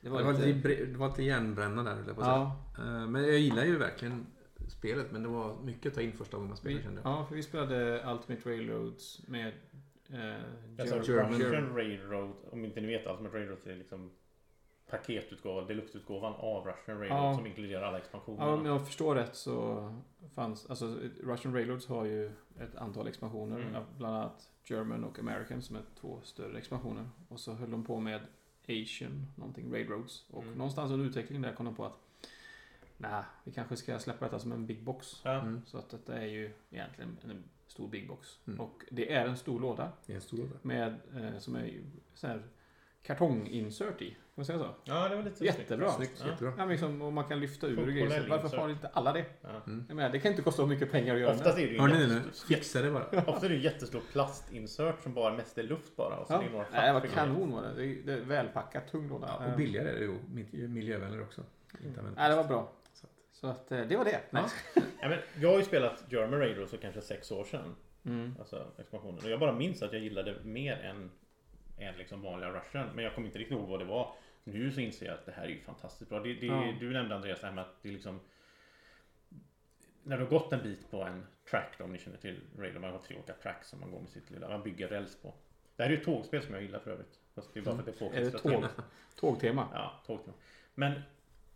Speaker 3: Det var lite, bre- det var lite järnbränna där, höll jag på att säga.
Speaker 4: Ja,
Speaker 3: Eh, Men jag gillar ju verkligen spelet, men det var mycket att ta in första gången man spelade
Speaker 4: vi,
Speaker 3: kände jag.
Speaker 4: ja, för vi spelade Ultimate Railroads med... Eh,
Speaker 1: Alltså
Speaker 4: Gerald-
Speaker 3: German-
Speaker 1: Russian Railroad, om inte ni vet Ultimate Railroad är liksom paketutgåvan, deluxeutgåvan av Russian Railroad
Speaker 4: Ja.
Speaker 1: som inkluderar alla expansioner.
Speaker 4: Ja, om jag förstår rätt så fanns... Alltså, Russian Railroads har ju ett antal expansioner.
Speaker 1: Mm.
Speaker 4: ja, Bland annat German och American som är två större expansioner. Och så höll de på med Asian, någonting, Railroads. Och
Speaker 1: Mm.
Speaker 4: någonstans under utvecklingen där kom de på att nej, vi kanske ska släppa detta som en big box.
Speaker 1: Ja.
Speaker 3: Mm.
Speaker 4: Så att detta är ju egentligen en stor big box.
Speaker 3: Mm.
Speaker 4: Och det är en stor låda
Speaker 3: Det är en stor låda.
Speaker 4: med, eh, som är så här kartonginsert i. Kan man säga så?
Speaker 1: Ja, det var lite
Speaker 4: Jättebra.
Speaker 1: snyggt.
Speaker 3: Snyggt,
Speaker 1: Ja.
Speaker 3: jättebra.
Speaker 4: Ja, men liksom, och man kan lyfta ur
Speaker 1: Funktionell
Speaker 4: grejer. Så varför
Speaker 1: insert.
Speaker 4: har inte alla det?
Speaker 1: Ja.
Speaker 4: Jag menar, det kan inte kosta mycket pengar att göra
Speaker 1: Mm. Oftast
Speaker 4: det.
Speaker 1: är det ju
Speaker 3: Mm. Hör ni det
Speaker 1: jättestor-
Speaker 3: nu? Fixa det bara.
Speaker 1: Ofta är det ju jättestor plastinsert som bara mest är luft bara. Och så
Speaker 4: Ja.
Speaker 1: är det några
Speaker 4: Nej, vad
Speaker 1: fack-
Speaker 4: kanon var det. Det är, det är välpackat, tung låda.
Speaker 3: Ja,
Speaker 4: Eh,
Speaker 3: och billigare är det ju. Mil- Miljövänligare också. Inte använda
Speaker 4: Nej, det var bra.
Speaker 3: Så att-
Speaker 4: Så att eh, det var det.
Speaker 3: Ja.
Speaker 4: Nej.
Speaker 1: Ja, men jag har ju spelat German Raid så kanske sex år sedan.
Speaker 4: Mm.
Speaker 1: Alltså expansionen. Och jag bara minns att jag gillade mer än, än liksom vanliga Russian. Men jag kommer inte riktigt ihåg vad det var. Nu så inser jag att det här är ju fantastiskt bra. Det, det,
Speaker 4: Ja.
Speaker 1: Du nämnde Andreas det här med att det är liksom när du har gått en bit på en track då, om ni känner till Raider, man har tre olika tracks som man går med sitt lilla, man bygger räls på. Det här är ju ett tågspel som jag gillar för övrigt. Fast det är bara för att det är
Speaker 4: Är det
Speaker 1: påkostrat.
Speaker 4: tåg, tågtema?
Speaker 1: Ja, tågtema. Men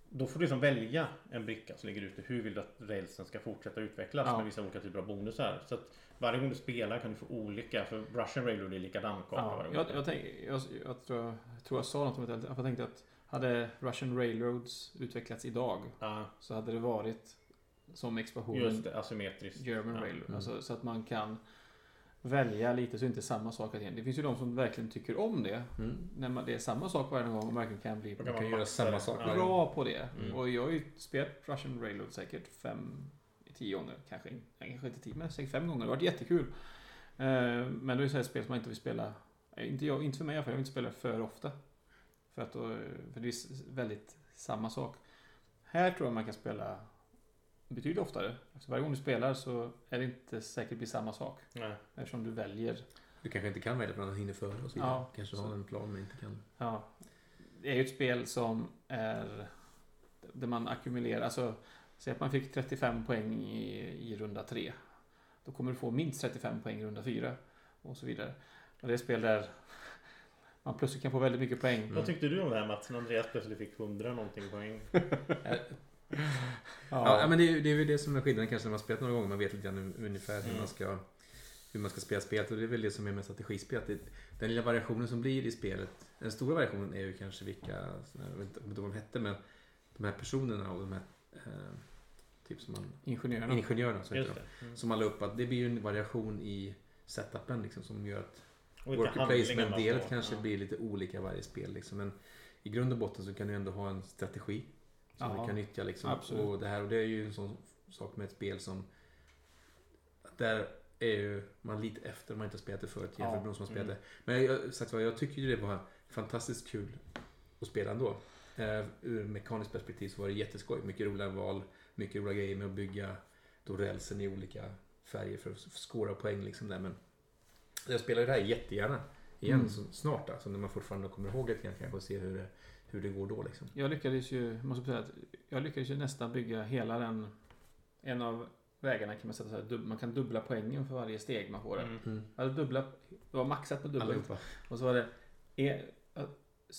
Speaker 1: då får du liksom välja en bricka som ligger ute. Hur vill du att rälsen ska fortsätta utvecklas
Speaker 4: Ja.
Speaker 1: med vissa olika typer av bonusar? Så att varje gång du spelar kan du få olika. För Russian Railroad är likadan karta
Speaker 4: Ja,
Speaker 1: varje gång.
Speaker 4: jag, jag, tänk, jag, jag, tror, jag tror jag sa något om det. Jag tänkte att hade Russian Railroads utvecklats idag
Speaker 1: Ja,
Speaker 4: så hade det varit som expansionen
Speaker 1: just det. Asymmetriskt.
Speaker 4: German
Speaker 1: Ja.
Speaker 4: Railroad.
Speaker 3: Mm.
Speaker 4: Alltså, så att man kan välja lite så inte samma sak att igen. Det finns ju de som verkligen tycker om det.
Speaker 3: Mm.
Speaker 4: När man, det är samma sak varje gång och verkligen kan bli
Speaker 1: Då
Speaker 3: Man kan
Speaker 1: man
Speaker 3: göra
Speaker 1: maxa
Speaker 3: samma
Speaker 1: det.
Speaker 3: sak varje
Speaker 1: Ja.
Speaker 4: bra på det.
Speaker 1: Mm.
Speaker 4: Och jag har ju spelat Russian Railroad säkert fem, tio gånger. Kanske, nej, kanske inte tio, men säkert fem gånger. Det har varit jättekul. Eh, Men det är ju så här spel som man inte vill spela. eh, Inte, jag, inte för mig i alla fall. Jag vill inte spela för ofta. För, att då, för det är s- väldigt samma sak. Här tror jag man kan spela betydligt oftare. Efter varje gång du spelar så är det inte säkert det blir samma sak.
Speaker 1: Nej.
Speaker 3: Mm.
Speaker 4: Eftersom du väljer.
Speaker 3: Du kanske inte kan välja för att han hinner före och så vidare.
Speaker 4: Ja,
Speaker 3: kanske
Speaker 4: så-
Speaker 3: har en plan men inte kan.
Speaker 4: Ja, det är ju ett spel som är där man ackumulerar. Alltså, säg att man fick 35 poäng i, i runda 3. Då kommer du få minst 35 poäng i runda 4 och så vidare. Och det är ett spel där man plötsligt kan få väldigt mycket poäng.
Speaker 1: Mm. Vad tyckte du om det här Mats? När Andreas plötsligt fick 100 någonting poäng.
Speaker 3: Ja, men det är, ju- det är väl det som är skillnaden kanske när man har spelat några gånger. Man vet lite grann hur- ungefär hur
Speaker 1: Mm.
Speaker 3: man ska hur man ska spela spelet och det är väl det som är med strategispel. att det- Den lilla variationen som blir i spelet, den stora variationen är ju kanske vilka, såna här- jag vet inte vad de hette, men de här personerna och de här eh, typ som man,
Speaker 4: Ingenjörerna.
Speaker 3: ingenjörerna så heter
Speaker 1: Just
Speaker 3: de,
Speaker 1: det. Mm.
Speaker 3: som man la upp att det blir ju en variation i setupen liksom som gör att
Speaker 1: Och vilka
Speaker 3: Worker
Speaker 1: handlingar man
Speaker 3: placement-delet
Speaker 1: får.
Speaker 3: kanske
Speaker 1: Ja.
Speaker 3: blir lite olika i varje spel. Liksom. Men i grund och botten så kan du ändå ha en strategi som
Speaker 4: Ja,
Speaker 3: du kan nyttja. Liksom.
Speaker 4: absolut.
Speaker 3: Och, det här, och det är ju en sån sak med ett spel som... att Där är ju man lite efter om man inte har spelat det förut jämfört med
Speaker 4: Ja,
Speaker 3: de som har spelat det. Men jag, sagt vad, jag tycker ju det var fantastiskt kul att spela ändå. Eh, ur mekaniskt perspektiv så var det jätteskoj. Mycket roliga val, mycket roliga grejer med att bygga då rälsen i olika färger för att skåra poäng. Liksom där. Men jag spelar det här jättegärna igen
Speaker 4: Mm.
Speaker 3: så, snart. Alltså, när man fortfarande kommer ihåg lite grann kanske och se hur det, hur det går då. Liksom.
Speaker 4: Jag lyckades ju, måste säga att jag lyckades ju nästan bygga hela den, en av vägarna kan man säga så här, dub- man kan dubbla poängen för varje steg man får.
Speaker 1: Mm.
Speaker 3: Mm.
Speaker 4: Jag hade dubbla, det var maxat på dubbelt.
Speaker 3: Allihopa.
Speaker 4: Och så var det en, eh,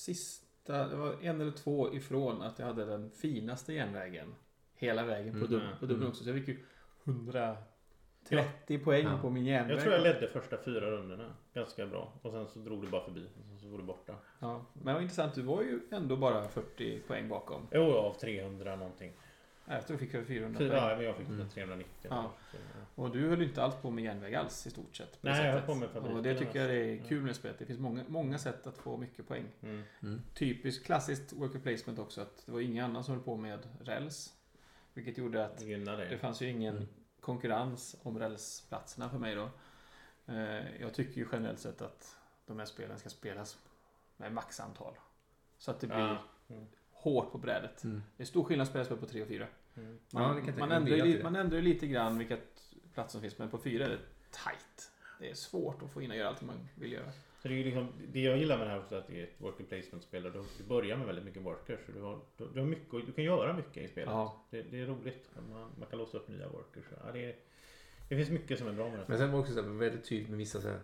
Speaker 4: sista, det var en eller två ifrån att jag hade den finaste järnvägen. Hela vägen på,
Speaker 3: Mm,
Speaker 4: dub,
Speaker 1: ja.
Speaker 4: på dubbeln
Speaker 3: Mm.
Speaker 4: också. Så jag fick ju 130 poäng
Speaker 3: Ja.
Speaker 4: på min järnväg.
Speaker 1: Jag tror jag ledde första fyra rundorna ganska bra. Och sen så drog du bara förbi. Och sen så var du borta.
Speaker 4: ja. Men det var intressant, du var ju ändå bara 40 poäng bakom.
Speaker 1: Jo, av 300 någonting.
Speaker 4: Nej, Jag tror jag fick över 400
Speaker 1: Fyra,
Speaker 4: poäng.
Speaker 1: ja, men jag fick
Speaker 3: Mm.
Speaker 1: 390.
Speaker 4: Ja.
Speaker 1: Så, ja.
Speaker 4: Och du höll ju inte alls på med järnväg alls i stort sett. på det
Speaker 1: Nej, jag höll
Speaker 4: sättet.
Speaker 1: på med fabriken
Speaker 4: Och det tycker jag är
Speaker 1: mest.
Speaker 4: kul med spelet. Det finns många, många sätt att få mycket poäng.
Speaker 1: Mm.
Speaker 3: Mm.
Speaker 4: Typiskt klassiskt worker placement också att det var ingen annan som höll på med räls. Vilket gjorde att
Speaker 1: Det gynnar dig.
Speaker 4: Det fanns ju ingen
Speaker 3: Mm.
Speaker 4: konkurrens om rälsplatserna för mig då. Eh, Jag tycker ju generellt sett att de här spelen ska spelas med maxantal. Så att det blir
Speaker 1: Ja.
Speaker 4: hårt på brädet.
Speaker 3: Mm.
Speaker 4: Det är stor skillnad att spela spel på 3 och 4.
Speaker 1: Mm.
Speaker 3: Ja,
Speaker 4: Man,
Speaker 3: det kan jag
Speaker 4: man,
Speaker 3: tänka mig.
Speaker 4: ändrar ju,
Speaker 3: Det är
Speaker 4: li- man ändrar ju lite grann vilka t- platser som finns, men på 4 är det tight. Det är svårt att få in och göra allt man vill göra.
Speaker 1: Så det, är ju liksom, det jag gillar med det här också är att det är ett worker placement-spel. och Du, du börjar med väldigt mycket workers. Så du, har, du, du, har mycket, och- du kan göra mycket i spelet.
Speaker 4: Ja.
Speaker 1: Det, det är roligt. Man, man kan låsa upp nya workers. Ja, det, är, det finns mycket som är bra med det.
Speaker 3: Men sen var det också så här, väldigt tydligt med vissa så här,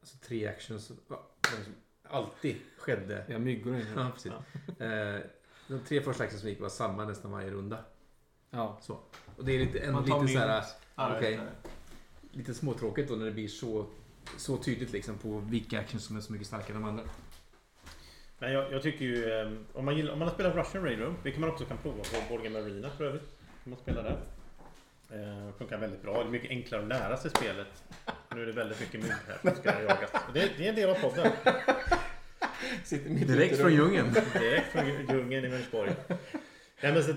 Speaker 3: alltså, tre actions som ja, de som alltid skedde.
Speaker 4: Vi har myggor inne.
Speaker 3: Ja, precis. Eh, de tre första actions som gick var samma nästan varje runda.
Speaker 4: Ja.
Speaker 3: Så. Och det är lite, en,
Speaker 4: Man tar
Speaker 3: lite så
Speaker 4: min-
Speaker 3: här,
Speaker 4: Ja,
Speaker 3: Okej.
Speaker 4: det är-
Speaker 3: lite småtråkigt då när det blir så, så tydligt liksom på vilka actions som är så mycket starkare än de andra.
Speaker 1: Men jag, jag tycker ju... eh, Om man, gillar, om man har spelat Russian Railroad, vilket man också kan prova på Borgen Marina för övrigt. Om man spelar där. Eh, funkar väldigt bra. Det är mycket enklare att lära sig spelet. Nu är det väldigt mycket mygg här som ska jagas. Och Det, det är en del av podden.
Speaker 4: Sitter mitt ute i
Speaker 3: Direkt från
Speaker 4: rummet.
Speaker 3: djungeln.
Speaker 1: Direkt från djungeln i Vänersborg. Nej, men så,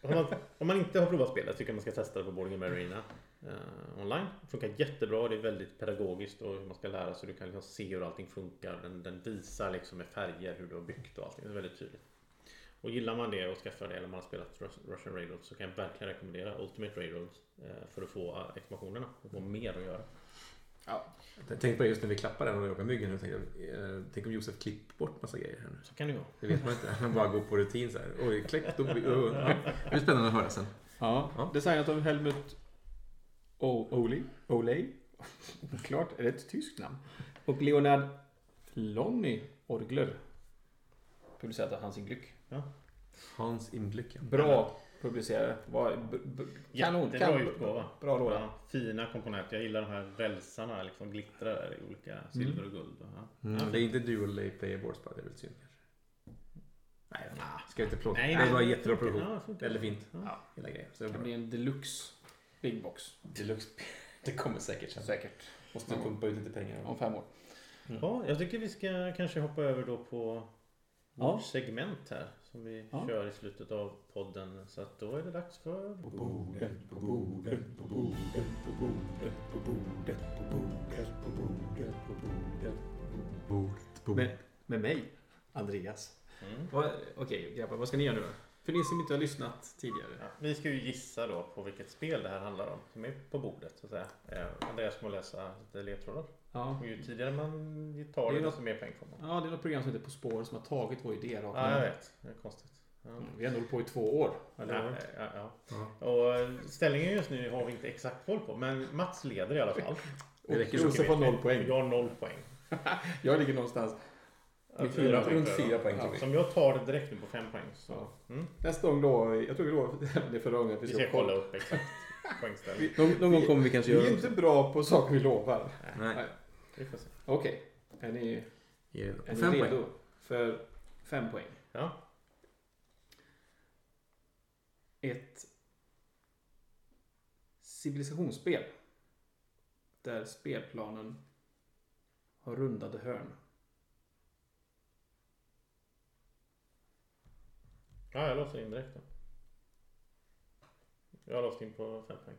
Speaker 1: om, man, om man inte har provat spelet tycker jag man ska testa det på Boarding Game Arena eh, online. Det funkar jättebra. Det är väldigt pedagogiskt och hur man ska lära sig. Du kan liksom se hur allting funkar. Den, den visar liksom med färger hur du har byggt och allting. Det är väldigt tydligt. Och gillar man det och skaffar det eller man har spelat Rus- Russian Railroads så kan jag verkligen rekommendera Ultimate Railroads eh, för att få eh, expansionerna och få mer att göra.
Speaker 3: Jag tänkte på det just när vi klappade den och jag på myggen. nu, tänkte jag, eh, Tänk om Josef klippt bort massa grejer här nu.
Speaker 1: Så kan det vara.
Speaker 3: Det vet man inte. Han bara går på rutin så här. Oj, kläckt. och- och- Det blir oh. spännande att höra sen.
Speaker 4: Ja,
Speaker 3: Ja.
Speaker 4: designat av Helmut o- Oli. Olej. Klart, är det ett tyskt namn? Och Leonard Lonny Orgler. Publicerat av Hans Glück.
Speaker 3: Hans Imblick. ja.
Speaker 4: Bra publicerare. Var, b- b- kanon.
Speaker 1: Jättebra
Speaker 4: kanon.
Speaker 1: utgåva.
Speaker 4: Bra låda.
Speaker 1: Ja, fina komponenter. Jag gillar de här rälsarna. Liksom glittrar där i olika silver och guld. och- Ja.
Speaker 3: Mm. Det är inte dual lay player boards bara. Det är väl synd kanske. Nej, jag ska inte plåta.
Speaker 1: Nej,
Speaker 3: Det
Speaker 1: nej.
Speaker 3: var en jättebra
Speaker 1: Ja,
Speaker 3: produktion.
Speaker 1: det funkar.
Speaker 3: Väldigt fint.
Speaker 1: Ja.
Speaker 3: Hela grejen. Så
Speaker 4: Det kan bli en deluxe big box.
Speaker 3: Deluxe. Det kommer säkert sen.
Speaker 4: Säkert.
Speaker 3: Måste pumpa ut lite pengar.
Speaker 4: Om fem år.
Speaker 1: Ja, jag tycker vi ska kanske hoppa över då på
Speaker 4: Ja.
Speaker 1: vårt segment här som vi
Speaker 4: Ja.
Speaker 1: kör i slutet av podden. Så att då är det dags för...
Speaker 4: Med, med mig, Andreas.
Speaker 1: Mm.
Speaker 4: Vad- Okej grabbar, vad ska ni göra nu då? För ni som inte har lyssnat tidigare.
Speaker 1: Ja, vi ska ju gissa då på vilket spel det här handlar om som är på bordet. Så att säga. Eh, Andreas kommer läsa lite ledtrådar.
Speaker 4: Ja.
Speaker 1: Och ju tidigare man
Speaker 4: Det
Speaker 1: tar det
Speaker 4: är något-
Speaker 1: desto mer poäng får man.
Speaker 4: ja, det är något program som heter På spåret som har tagit vår idé rakt
Speaker 1: Ja, jag
Speaker 4: av.
Speaker 1: vet. Det är konstigt. Ja.
Speaker 4: Mm, Vi har ändå hållit på i två år. Eller?
Speaker 1: Ja,
Speaker 4: hur?
Speaker 1: ja, ja. Och eh, ställningen just nu har vi inte exakt koll på, men Mats leder i alla fall.
Speaker 4: Och
Speaker 3: räcker så.
Speaker 4: Josef har noll poäng.
Speaker 1: Jag har noll poäng. Alltså,
Speaker 4: Jag ligger någonstans.
Speaker 3: Runt fyra poäng, runt fyra poäng
Speaker 1: Ja,
Speaker 3: tror vi.
Speaker 1: som jag tar det direkt nu på fem poäng. Så.
Speaker 4: Ja.
Speaker 1: Mm.
Speaker 4: Nästa gång då, jag tror vi då, det är förra gången att
Speaker 1: Vi ska kolla upp exakt poängställning.
Speaker 3: Någon, någon gång kommer vi kanske
Speaker 4: Vi
Speaker 3: göra
Speaker 4: är
Speaker 3: det.
Speaker 4: inte bra på saker vi lovar.
Speaker 3: Nej.
Speaker 1: Vi får se.
Speaker 4: Okej, är ni,
Speaker 3: Ge det.
Speaker 4: är
Speaker 3: Fem
Speaker 4: ni
Speaker 3: poäng.
Speaker 4: redo för fem poäng?
Speaker 1: Ja.
Speaker 4: Ett civilisationsspel där spelplanen har rundade hörn.
Speaker 1: Ja, jag låser in direkt då. Jag har låst in på fem poäng.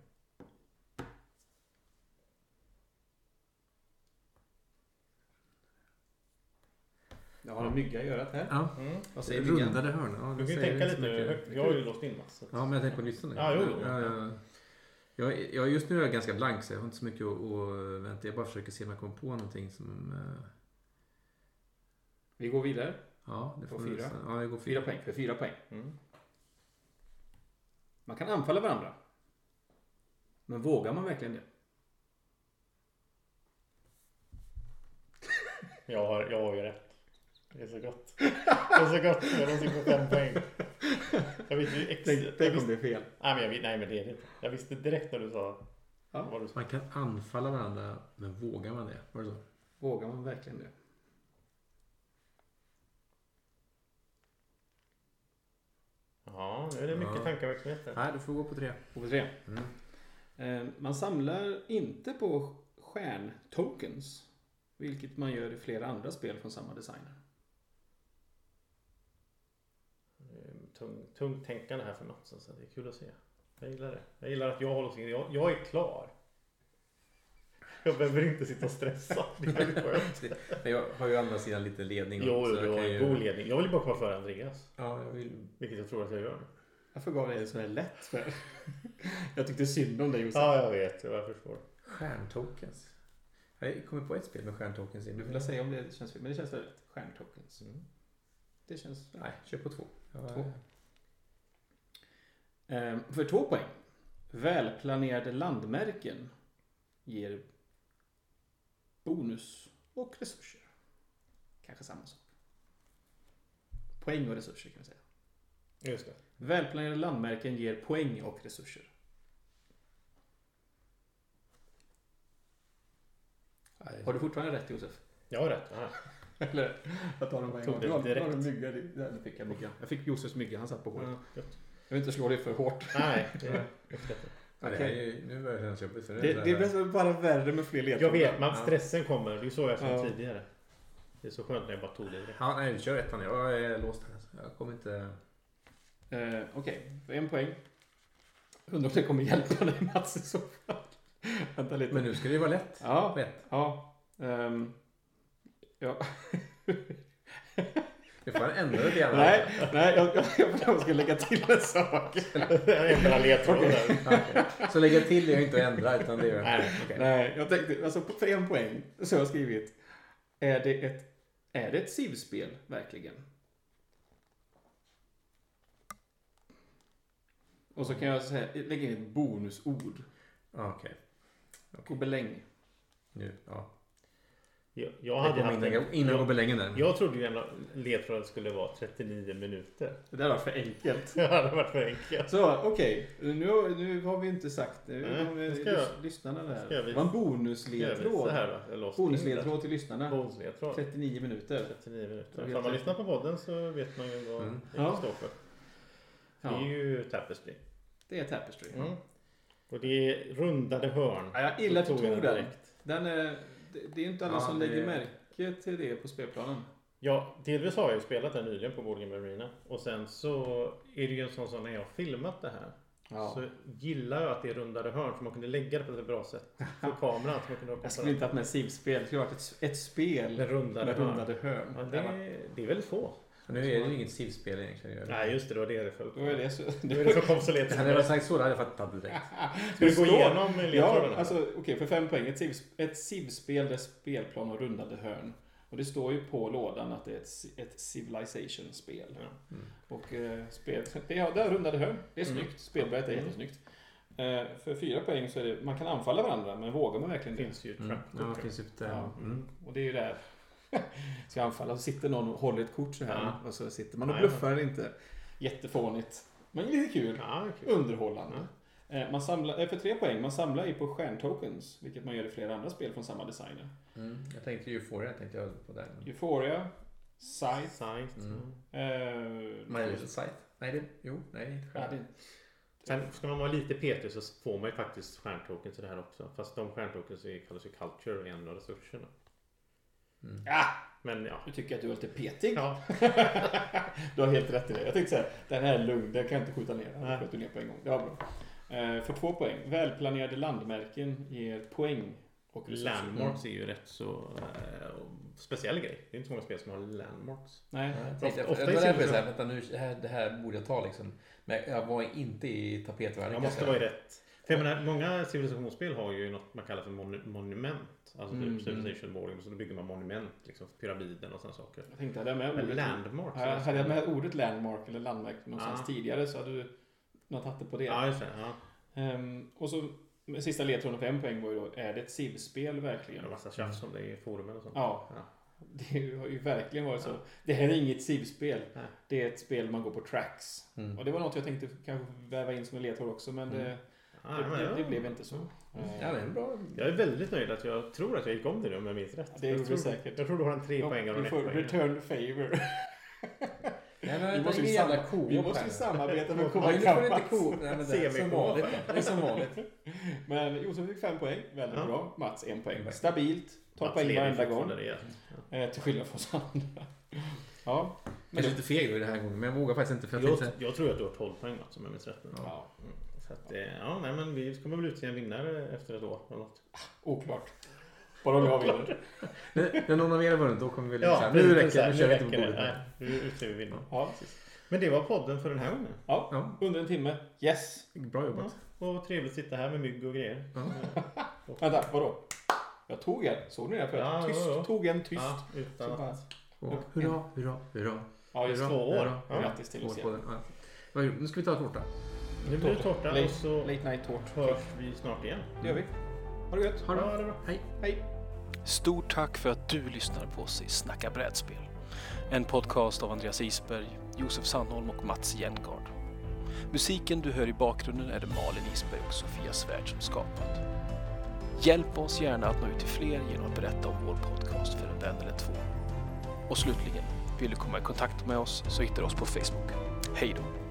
Speaker 4: Jag har en mygga i örat här.
Speaker 3: Ja.
Speaker 1: Mm.
Speaker 4: Vad säger myggan?
Speaker 3: Rundade hörn. Ja,
Speaker 1: Du kan ju
Speaker 3: säger
Speaker 1: tänka
Speaker 3: inte så
Speaker 1: lite.
Speaker 3: mycket.
Speaker 1: högt. Jag har ju låst in Mats. så att-
Speaker 3: Ja, men jag tänker på nyssen.
Speaker 1: Ja, jo, jo.
Speaker 3: Ja, ja. Jag, jag, just nu är jag ganska blank så jag har inte så mycket att, att vänta. Jag bara försöker se om jag kommer på någonting som... eh,
Speaker 4: Vi går vidare.
Speaker 3: Ja, det
Speaker 4: På
Speaker 3: får vi
Speaker 4: fyra.
Speaker 3: nästan- Ja, jag går
Speaker 4: Fyra
Speaker 3: fyra.
Speaker 4: poäng för fyra poäng.
Speaker 1: Mm.
Speaker 4: Man kan anfalla varandra. Men vågar man verkligen det?
Speaker 1: Jag, har, jag har ju rätt. Det är så gott. Det är så gott. Jag låser in på fem poäng. Jag visste ju ex- jag visste-
Speaker 4: det är fel.
Speaker 1: Nej men, jag, vet- nej men det är det inte. Jag visste direkt när du sa
Speaker 4: Ja.
Speaker 1: vad du sa.
Speaker 3: Man kan anfalla varandra, men vågar man det? Var det så?
Speaker 4: Vågar man verkligen det?
Speaker 1: Ja, nu är det mycket
Speaker 3: Ja.
Speaker 1: tankeverksamhet här.
Speaker 3: Nej, du får gå på tre.
Speaker 4: Och på tre. Eh, Man samlar inte på stjärntokens. Vilket man gör i flera andra spel från samma designer.
Speaker 1: Ehm, Tung, tungt tänkande här för Mats. Så det är kul att se. Jag gillar det. Jag gillar att jag håller sig. Jag, jag är klar. Jag behöver inte sitta och stressa. Det är väldigt skönt.
Speaker 3: Nej, jag har ju å andra sidan lite ledning.
Speaker 1: Jo,
Speaker 3: Mm.
Speaker 1: jo,
Speaker 3: så jag
Speaker 1: du har
Speaker 3: kan
Speaker 1: en
Speaker 3: ju-
Speaker 1: god ledning. Jag vill bara komma före Andreas.
Speaker 3: Ja, jag vill...
Speaker 1: Vilket jag tror att jag gör.
Speaker 4: Varför gav dig det så här lätt för? Jag tyckte synd om dig Josef.
Speaker 1: Ja, jag vet. Jag förstår.
Speaker 3: Stjärntokens. Jag kommer på ett spel med stjärntokens. i.
Speaker 4: Du vill säga om det känns fel, men det känns väl rätt. Stjärntokens. Det känns
Speaker 3: Nej, kör på två. Jag-
Speaker 4: Två. Ehm, För två poäng. Välplanerade landmärken ger bonus och resurser. Kanske samma sak. Poäng och resurser kan vi säga.
Speaker 1: Just det.
Speaker 4: Välplanerade landmärken ger poäng och resurser.
Speaker 3: Nej.
Speaker 4: Har du fortfarande rätt Josef?
Speaker 1: Jag har rätt. Ja.
Speaker 4: Eller? Jag tar dem på en
Speaker 1: Tog
Speaker 4: gång.
Speaker 1: det
Speaker 4: Du har-
Speaker 1: direkt.
Speaker 4: du har en mygga i- där, nu fick jag myggan. Jag fick Josefs mygga, han satt på håret.
Speaker 1: Ja, gött.
Speaker 4: Jag vill inte slå dig för hårt.
Speaker 1: Nej.
Speaker 3: Ja, det här är ju, nu börjar det kännas jobbigt. För
Speaker 4: Det, det är bäst- bara värre med fler
Speaker 1: Jag
Speaker 4: ledtrådar.
Speaker 1: vet. Man, stressen kommer. Det är så jag sa
Speaker 4: Ja.
Speaker 1: tidigare. Det är så skönt när jag bara tog det direkt.
Speaker 3: Han, nej, kör ettan. Jag är låst här. så Jag kommer inte...
Speaker 4: Eh, Okej, en poäng. Undrar om det kommer hjälpa dig Mats i så fall. Vänta lite.
Speaker 3: Men nu ska det ju vara lätt.
Speaker 4: Ja,
Speaker 3: Rätt.
Speaker 4: ja. ehm, ja.
Speaker 3: Nu får han ändra det igen.
Speaker 4: nej, nej, jag, jag, jag, jag ska lägga till en sak.
Speaker 1: Jävla ledtrådar.
Speaker 3: Ja, okej. Så lägga till är ju inte att ändra utan det är ju...
Speaker 1: Nej, okej.
Speaker 4: Nej, jag tänkte, alltså på- för en poäng så har jag skrivit. Är det ett, är det ett SIV-spel verkligen? Och så kan jag säga, lägga in ett bonusord.
Speaker 3: Ja, Okej.
Speaker 4: Gobeläng.
Speaker 3: Nu. Ja.
Speaker 1: Jag, jag
Speaker 3: Jag
Speaker 1: hade
Speaker 3: kom
Speaker 1: haft
Speaker 3: innan,
Speaker 1: en,
Speaker 3: innan
Speaker 1: jag,
Speaker 3: obelängen där.
Speaker 1: jag trodde ju att ledtråden skulle vara 39 minuter.
Speaker 4: Det där var för enkelt.
Speaker 1: Det hade varit för enkelt.
Speaker 4: Så okej, nu, nu har vi inte sagt det.
Speaker 1: Nej,
Speaker 4: Nu kommer
Speaker 1: Mm, det ska jag-
Speaker 4: lys- lyssnarna där.
Speaker 1: ska jag
Speaker 4: Det var en
Speaker 1: visa.
Speaker 4: bonusledtråd.
Speaker 1: Så här va? Jag låste in
Speaker 4: Bonusledtråd till
Speaker 1: den.
Speaker 4: lyssnarna.
Speaker 1: Bonusledtråd.
Speaker 4: 39 minuter.
Speaker 1: 39 minuter.
Speaker 4: Jag vet
Speaker 1: Om man
Speaker 4: inte.
Speaker 1: lyssnar på podden så vet man ju vad
Speaker 3: Mm.
Speaker 1: det
Speaker 4: Ja.
Speaker 1: står för. Det är
Speaker 4: Ja,
Speaker 1: ju Tapestry.
Speaker 4: det är Tapestry.
Speaker 1: Mm. Och det är rundade hörn.
Speaker 4: Ja, jag gillar att du
Speaker 1: Tog jag
Speaker 4: tog den.
Speaker 1: direkt.
Speaker 4: den är, det, det är inte alla
Speaker 3: Ja,
Speaker 4: som
Speaker 3: det-
Speaker 4: lägger märke till det på spelplanen.
Speaker 1: Ja, delvis har jag ju spelat den nyligen på Board Game Arena. Och sen så är det ju en sån som när jag har filmat det här. Så gillar jag att det är rundade hörn för man kunde lägga det på ett bra sätt. För kameran så man kunde ha
Speaker 4: Jag skulle inte haft med SIV-spel. Det skulle varit ett, ett spel
Speaker 1: Med rundade
Speaker 4: med
Speaker 1: hörn.
Speaker 4: rundade
Speaker 1: Ja,
Speaker 4: hörn.
Speaker 1: det, är- det är väldigt få.
Speaker 3: Så nu är det ju inget SIV-spel egentligen. gör det.
Speaker 1: Nej just det, det var det det föll på.
Speaker 4: Då är det så.
Speaker 1: Det är det som kom så lätt.
Speaker 3: Hade jag sagt så då hade jag fattat direkt.
Speaker 1: Ska vi gå
Speaker 4: Det står-
Speaker 1: igenom ledtrådarna?
Speaker 4: Ja, alltså okej, för fem poäng. Ett SIV Ett SIV-spel där spelplan har rundade hörn. Och det står ju på lådan att det är ett, ci- ett Civilization-spel.
Speaker 3: Mm.
Speaker 4: Och eh, spel, det, har, det har rundade hörn. Det är
Speaker 1: Mm.
Speaker 4: snyggt. Spelbrädet är
Speaker 1: Mm.
Speaker 4: jättesnyggt. Eh, för fyra poäng så är det, man kan anfalla varandra, men vågar man verkligen
Speaker 1: Det
Speaker 4: det?
Speaker 1: finns ju
Speaker 3: Mm.
Speaker 1: trap.
Speaker 3: Ja, det finns ju ett...
Speaker 4: Ja.
Speaker 3: eh, Mm.
Speaker 4: Och det är ju där. Ska jag anfalla så sitter någon och håller ett kort så här.
Speaker 1: Ja.
Speaker 4: Och så sitter man och
Speaker 1: Ja,
Speaker 4: bluffar eller inte. Jättefånigt. Men lite kul.
Speaker 1: Ja, kul. Mm.
Speaker 4: Underhållande. Eh, Man samlar, eh, för tre poäng, man samlar ju på stjärntokens, vilket man gör i flera andra spel från samma designer.
Speaker 3: Mm. Jag tänkte ju Euphoria tänkte jag på
Speaker 1: Mm.
Speaker 3: där.
Speaker 4: Euphoria, Scythe,
Speaker 1: Sajt.
Speaker 3: Mm.
Speaker 4: eh,
Speaker 1: Mm.
Speaker 3: My Little Sight. Nej, det... Jo, nej. inte
Speaker 4: ja,
Speaker 3: själv.
Speaker 4: det,
Speaker 1: Sen ska man vara lite petig så får man ju faktiskt stjärntoken till det här också. Fast de stjärntoken så är- kallas ju Culture och är en av resurserna.
Speaker 3: Mm.
Speaker 4: ah,
Speaker 1: Men ja.
Speaker 4: nu tycker jag att du är lite petig.
Speaker 1: ja.
Speaker 4: du har helt rätt i det. Jag tänkte såhär, den här är lugn, den kan jag inte skjuta ner. Den
Speaker 1: Nej.
Speaker 4: sköt du ner på en gång. Det var bra. Eh, För två poäng, välplanerade landmärken ger poäng. Och resurser.
Speaker 1: Landmarks är ju rätt så eh, speciell grej. Det är inte så många spel som har landmarks.
Speaker 4: Nej.
Speaker 3: Ja, jag tänkte- jag-
Speaker 1: Ofta-
Speaker 3: jag-
Speaker 1: ofta
Speaker 3: Det var
Speaker 1: i
Speaker 3: därför jag
Speaker 1: Civilization-
Speaker 3: sa, vänta nu, det här, det här borde jag ta liksom. Men jag var inte i tapetvärlden.
Speaker 1: Jag
Speaker 3: kan
Speaker 1: måste
Speaker 3: säga.
Speaker 1: vara i rätt. För jag menar, många civilisationsspel har ju något man kallar för mon- monument. Alltså
Speaker 4: Mm.
Speaker 1: typ civilization boarding. Så då bygger man monument. Liksom pyramiden och sådana saker.
Speaker 4: Jag tänkte, hade jag med
Speaker 1: Men
Speaker 4: ordet,
Speaker 1: landmarks. alltså.
Speaker 4: Ja, hade jag med ordet landmark eller landmärke någonstans
Speaker 1: Ah.
Speaker 4: tidigare så hade du något hatte på det.
Speaker 1: Ja, just det. Ja.
Speaker 4: Ehm, och så men sista ledtråden på en poäng var ju då, är det ett SIV-spel
Speaker 1: Det
Speaker 4: verkligen?
Speaker 1: är en massa tjafs om det i forumen och sånt.
Speaker 4: Ja.
Speaker 1: Ja.
Speaker 4: Det har ju verkligen varit så.
Speaker 1: Ja.
Speaker 4: Det här är inget SIV-spel.
Speaker 1: Nej.
Speaker 4: Det är ett spel man går på tracks.
Speaker 3: Mm.
Speaker 4: Och det var något jag tänkte kanske väva in som en ledtråd också men det,
Speaker 1: Ja,
Speaker 4: det,
Speaker 1: men,
Speaker 4: det,
Speaker 1: ja.
Speaker 4: det blev inte så. Ehm,
Speaker 3: Ja, det är en bra.
Speaker 1: Jag är väldigt nöjd att jag tror att jag gick om det nu om jag minns rätt.
Speaker 4: Ja, det
Speaker 1: jag
Speaker 4: gjorde
Speaker 1: tror,
Speaker 4: du säkert.
Speaker 1: Jag tror du har en tre
Speaker 4: ja,
Speaker 1: poängare och
Speaker 4: vi
Speaker 1: en
Speaker 4: får
Speaker 1: ett
Speaker 4: return favor.
Speaker 3: Nej,
Speaker 4: Vi
Speaker 3: men det
Speaker 4: måste
Speaker 3: är
Speaker 4: ju
Speaker 3: ingen
Speaker 4: sam-
Speaker 3: jävla ko.
Speaker 4: Vi måste ju samarbeta med
Speaker 3: Ja, nu får du
Speaker 4: Kovakampa.
Speaker 3: inte ko. Nej, men det är som
Speaker 1: Semiko.
Speaker 3: vanligt. Det är som vanligt.
Speaker 4: Men Josef fick fem poäng. Väldigt
Speaker 1: Ja.
Speaker 4: bra. Mats en poäng.
Speaker 3: poäng.
Speaker 4: Stabilt. Ta poäng varenda gång.
Speaker 1: Ja.
Speaker 4: Eh, till skillnad från oss andra. Ja. Men
Speaker 3: Kanske lite feg då i den här gången, men jag vågar faktiskt inte för jag
Speaker 1: Jag,
Speaker 3: tänkte...
Speaker 1: jag tror att du har 12 poäng Mats om jag minns rätt. nu.
Speaker 4: ja,
Speaker 1: Mm. Så att, eh, ja, nej, men vi kommer väl utse en vinnare efter ett år eller något.
Speaker 4: oklart. Bara om jag vinner.
Speaker 3: Nej, När någon av er har vunnit, då kommer vi
Speaker 1: Ja,
Speaker 3: liksom... Nu
Speaker 1: precis,
Speaker 3: räcker det, nu kör vi inte på
Speaker 1: räcker det.
Speaker 3: bordet.
Speaker 1: Nej, Nu utser vi vinnare.
Speaker 4: Ja.
Speaker 1: Men det var podden för den här gången.
Speaker 3: Ja,
Speaker 4: Under en timme. Yes.
Speaker 3: bra
Speaker 1: Ja,
Speaker 3: jobbat.
Speaker 1: och trevligt att sitta här med mygg och grejer.
Speaker 3: Ja.
Speaker 4: Vänta, vadå? Jag tog en. Såg ni det? För jag
Speaker 1: Ja,
Speaker 4: tyst,
Speaker 1: ja, ja.
Speaker 4: tog en tyst.
Speaker 1: Ja,
Speaker 4: Så
Speaker 1: utan att...
Speaker 4: bara,
Speaker 3: Och Hurra, hurra, hurra.
Speaker 4: ja, just
Speaker 1: Bra.
Speaker 4: det.
Speaker 1: två år.
Speaker 3: hurra,
Speaker 1: Ja.
Speaker 3: hurra.
Speaker 4: Grattis till oss
Speaker 3: År på den. Ja. Vad grymt. Nu ska vi ta tårta.
Speaker 1: Nu blir det tårta och så
Speaker 4: Late, late night tårt.
Speaker 1: hörs vi snart igen.
Speaker 4: Det gör vi. Ha det gött.
Speaker 3: Ha det
Speaker 1: Ja, det är
Speaker 3: bra.
Speaker 1: bra.
Speaker 3: Hej.
Speaker 4: Hej.
Speaker 6: Stort tack för att du lyssnar på oss i Snacka brädspel. En podcast av Andreas Isberg, Josef Sandholm och Mats Jengard. Musiken du hör i bakgrunden är det Malin Isberg och Sofia Svärd som skapat. Hjälp oss gärna att nå ut till fler genom att berätta om vår podcast för en vän eller två. Och slutligen, vill du komma i kontakt med oss så hittar du oss på Facebook. Hej då!